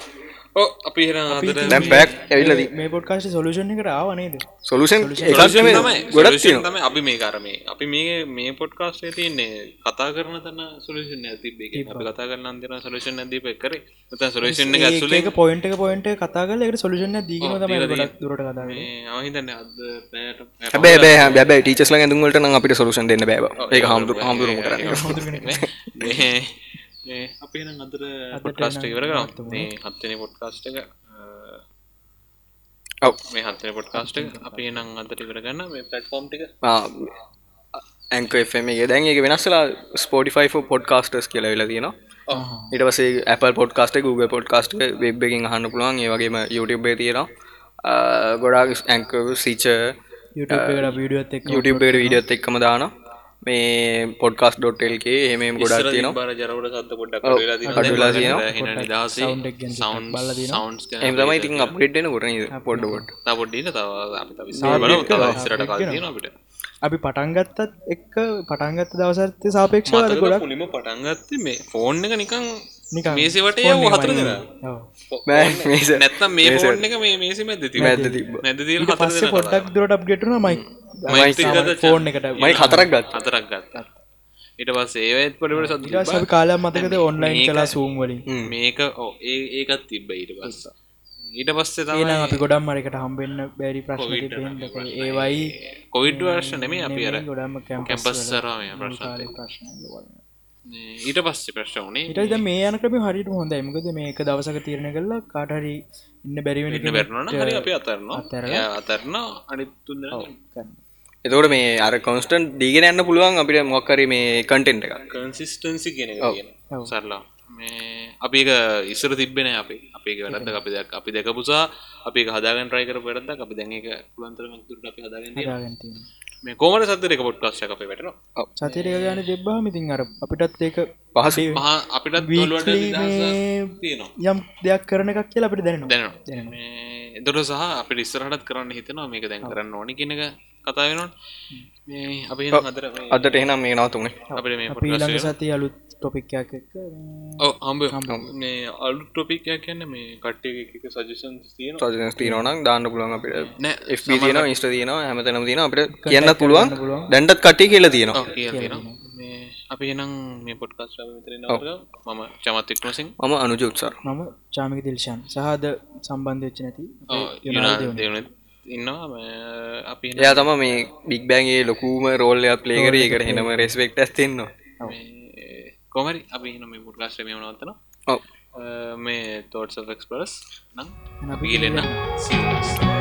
Speaker 1: ඕ අපි හෙන අදට
Speaker 3: දැම් පැක් ඇවිල්ලද
Speaker 2: මේ පොඩ්කාශ සොලුෂණ එකට ආවනේද
Speaker 3: සොලුසන්
Speaker 1: තමයි
Speaker 3: ගොඩක් තියෙන
Speaker 1: තමයි අපි මේ කරමේ අපි මේ මේ පොඩ්කාස්ේ තියන්නේ කතා කරන තන්න සුලේෂන් ඇතිබේ අපි කතා කරන්න අන්තින සුලේෂන් ඇදීප කරේ ත සුලේෂන් ගත්සුලේ
Speaker 2: ඒක පොයින්ට පොයින්ට කතාගල එකට සොලුෂණ දීගන
Speaker 1: ඔව්,
Speaker 2: තමයි
Speaker 1: දීලා
Speaker 2: ගොඩක් දුරට කතාග
Speaker 1: අවහිතන්න අද පෑට
Speaker 3: හැබැයි බෑ බැබයි ටීචස් ලා ඇඳුම්වලට නම් අපිට සොලුෂන් දෙන්න බෑ ඒක හාමුදුරු හාමුදුරුවෝ කරන්නේ
Speaker 1: අපේ අතර පොට්කාස්ට ඉවරග මේ හත්තන පොට්කාස්ට එක අ,
Speaker 3: ඔව්
Speaker 1: මේ හත්තන පොට්කාස්ට එක අපි නම් අතට ඉවරගන්න මේ පටෆෝම් ටික
Speaker 3: ඇක එමගේ දැන් ඒක වෙනස්සලා ස්පෝටිෆයි පොඩ්කාස්ටස් කියලා වෙලා තියෙන ඉටවසේ Apple පොඩ්කාස්ට Google පොඩ්කාස්ට වෙබ්බකින් අහන්න පුළුවන් ඒ වගේම YouTube තියෙන ගොඩාක් ඇක සිච
Speaker 2: YouTube වීඩියත් එක්
Speaker 3: YouTube විඩියත් එක්කම දාන මේ පොඩ්කාස් ඩොට්ටල්ගේ එමම් ගොඩක් තියෙන
Speaker 4: බර ජරවට සත්ත පොඩ්ඩක්
Speaker 3: ඔව්.
Speaker 4: වෙලා තියෙන
Speaker 3: අඩුලා තියෙනවා
Speaker 2: sound එක ගැන ටිකක් බලලා තියෙනවා.
Speaker 1: සවන්්
Speaker 3: එම තමයි ඉතින් අපිට්න ගොරන පොඩ්ඩොට්
Speaker 1: පොඩ්ඩින තව අපි තව ඉස්සරහට බලමු. තව ඉස්සරහට කල් තියෙනවා අපිට
Speaker 2: අපි පටන්ගත්තත් එක්ක පටන්ගත්ත දවසර්තය සාපේක්ෂ අර ගොඩක්
Speaker 4: මුලිම පටන්
Speaker 1: පටන්ගත්ත මේ ෆෝන් එක නිකං
Speaker 2: නිකන්
Speaker 1: මේසවට
Speaker 2: phone එකම
Speaker 1: හතර දෙෙන
Speaker 2: ඔව්.
Speaker 1: නැත්තම් මේ ෆෝන් එක මේ මේසි මැද ති
Speaker 3: මැද්ද තිබ්බ.
Speaker 1: නැද දී
Speaker 2: ඊට පස්සේ පොඩ්ඩක් දුරට අප්ගෙටන මයි ෆෝන් එකට
Speaker 3: මයි කතරක් ගත්
Speaker 1: හතරක් ගත්ත ඉට පස් ඒත් පොඩිට සද
Speaker 2: ඊට සි කාලයක් මතකද ඔන්ලයින් කලා සූම් වලින්
Speaker 1: මේක ඕ ඒ ඒකත් තිබ්බ ඊට පස්ස ඊට පස්සේ
Speaker 2: ඒන
Speaker 1: තමයි
Speaker 2: අපි ගොඩම් අරකට හම්බෙන්න්න බැරි ප්‍රශ්න ඒවයි
Speaker 1: කොවිඩ් වර්ෂ නෙමේ අපි අර
Speaker 2: ගොඩම
Speaker 1: කැම්පස් සරාමය ප්‍රශ්න
Speaker 2: ප්‍රශ්න වල.
Speaker 1: ඊට පස්සේ ප්‍රශ්න
Speaker 2: ඊට
Speaker 1: වනේ
Speaker 2: ඉතින් මේ යනකම හරියට හොඳයි මොකද මේක දවසක තීරණය කළා කාට හරි ඉන්න බැරි වෙන
Speaker 1: ඉන්න බැරනන හරි අපි අතරන
Speaker 2: අත්හැරලා.
Speaker 1: අතරන අනිත්තුන්න
Speaker 3: එතකොට මේ අර කොන්ස්ටන් දීගෙන යන්න පුළුවන් අපිට මොක්කර මේ කටෙන්ට් එකක්
Speaker 4: කන්සිස්ටන්සි කෙනෙ කියන
Speaker 1: සරලා මේ අපි ඒක ඉස්සර තිබෙන අපි අපේ වැරද අපි දෙයක් අපි දෙකපුසා අපි හදාගෙන් රයිකර පෙරද අපි දැන් එක පුළන්තරම තුරට අපි හදාගෙන තියෙනවා. මේ කෝමට සත්තරක පොට්ටස්ස අපේ වැටනවා
Speaker 2: සතිරය ගාන දෙබ්බාම ඉතින් අර අපිටත් ඒක
Speaker 3: පහස
Speaker 1: මහා අපිටත් දොළුවට
Speaker 2: weekly
Speaker 1: නිදහස
Speaker 2: මේ
Speaker 1: තියෙනවා
Speaker 2: යම් දෙයක් කරන එකක් කියලා අපිට දැනෙනවා
Speaker 1: දැනවා මේ එදොර සහ අපි ඉස්සරහටත් කරන්න හිතනවා මේක දැන් කරන්න ඕනි කෙනක කතා වෙනවා මේ අපි අදර මේ
Speaker 3: අදට එහෙනම් මේ නවතුනේ
Speaker 1: අපිට මේ
Speaker 2: අපි ඊළඟ
Speaker 1: පොඩ්කාස්ට් එක-
Speaker 2: සතිය අලුත් ටොපික්යක් එක්ක
Speaker 1: ඔව් හම්බ මේ අලු ටොපික් එකක් කියන්නේ මේ කට්ටිය එක සජෙෂන් තියෙන
Speaker 3: සජනස් තිීනවනම් දාන්න පුළුවන් අපිට
Speaker 1: නෑ
Speaker 3: FB තියෙන ඉස්ට තියෙනවා හැමතැනම තියෙන අපිට කියන්න පුළුවන්
Speaker 2: පුළුවන්.
Speaker 3: දැන්ටත් කටි කියලා තියෙනවා
Speaker 1: ඔව් කියලා තියෙනවා මේ අපි එනම් මේ පොඩ්කාස්ට් එක මෙතන නවත්වමු මම චමත් වික්‍රමසිංහ
Speaker 3: මම අනුජෝත්සර
Speaker 2: මම චාමික දිල්ශන් සහද සම්බන්ධ වෙච්ච නැති
Speaker 1: ඔව්, යුනා දෙවනුත් ඉන්නවා මේ අපි එහෙනම්
Speaker 3: එයා තම මේ බික් බෑන්ගේ ලොකුම රෝල්ලය ප්ලේකර එකට හෙනම රෙස්වෙක්ට ඇස්තිෙන්නවා
Speaker 1: මේ කොමරි අපි එහෙනම් මේ පොඩ්කාස්ට් එක මෙහෙම නවත්තනවා
Speaker 3: ඔව
Speaker 1: අ, මේ තෝට්ස් ඔෆ් එක්ස්ප්‍රස් නම්
Speaker 2: අපි
Speaker 1: අපි ගෙලෙන්න See you next time.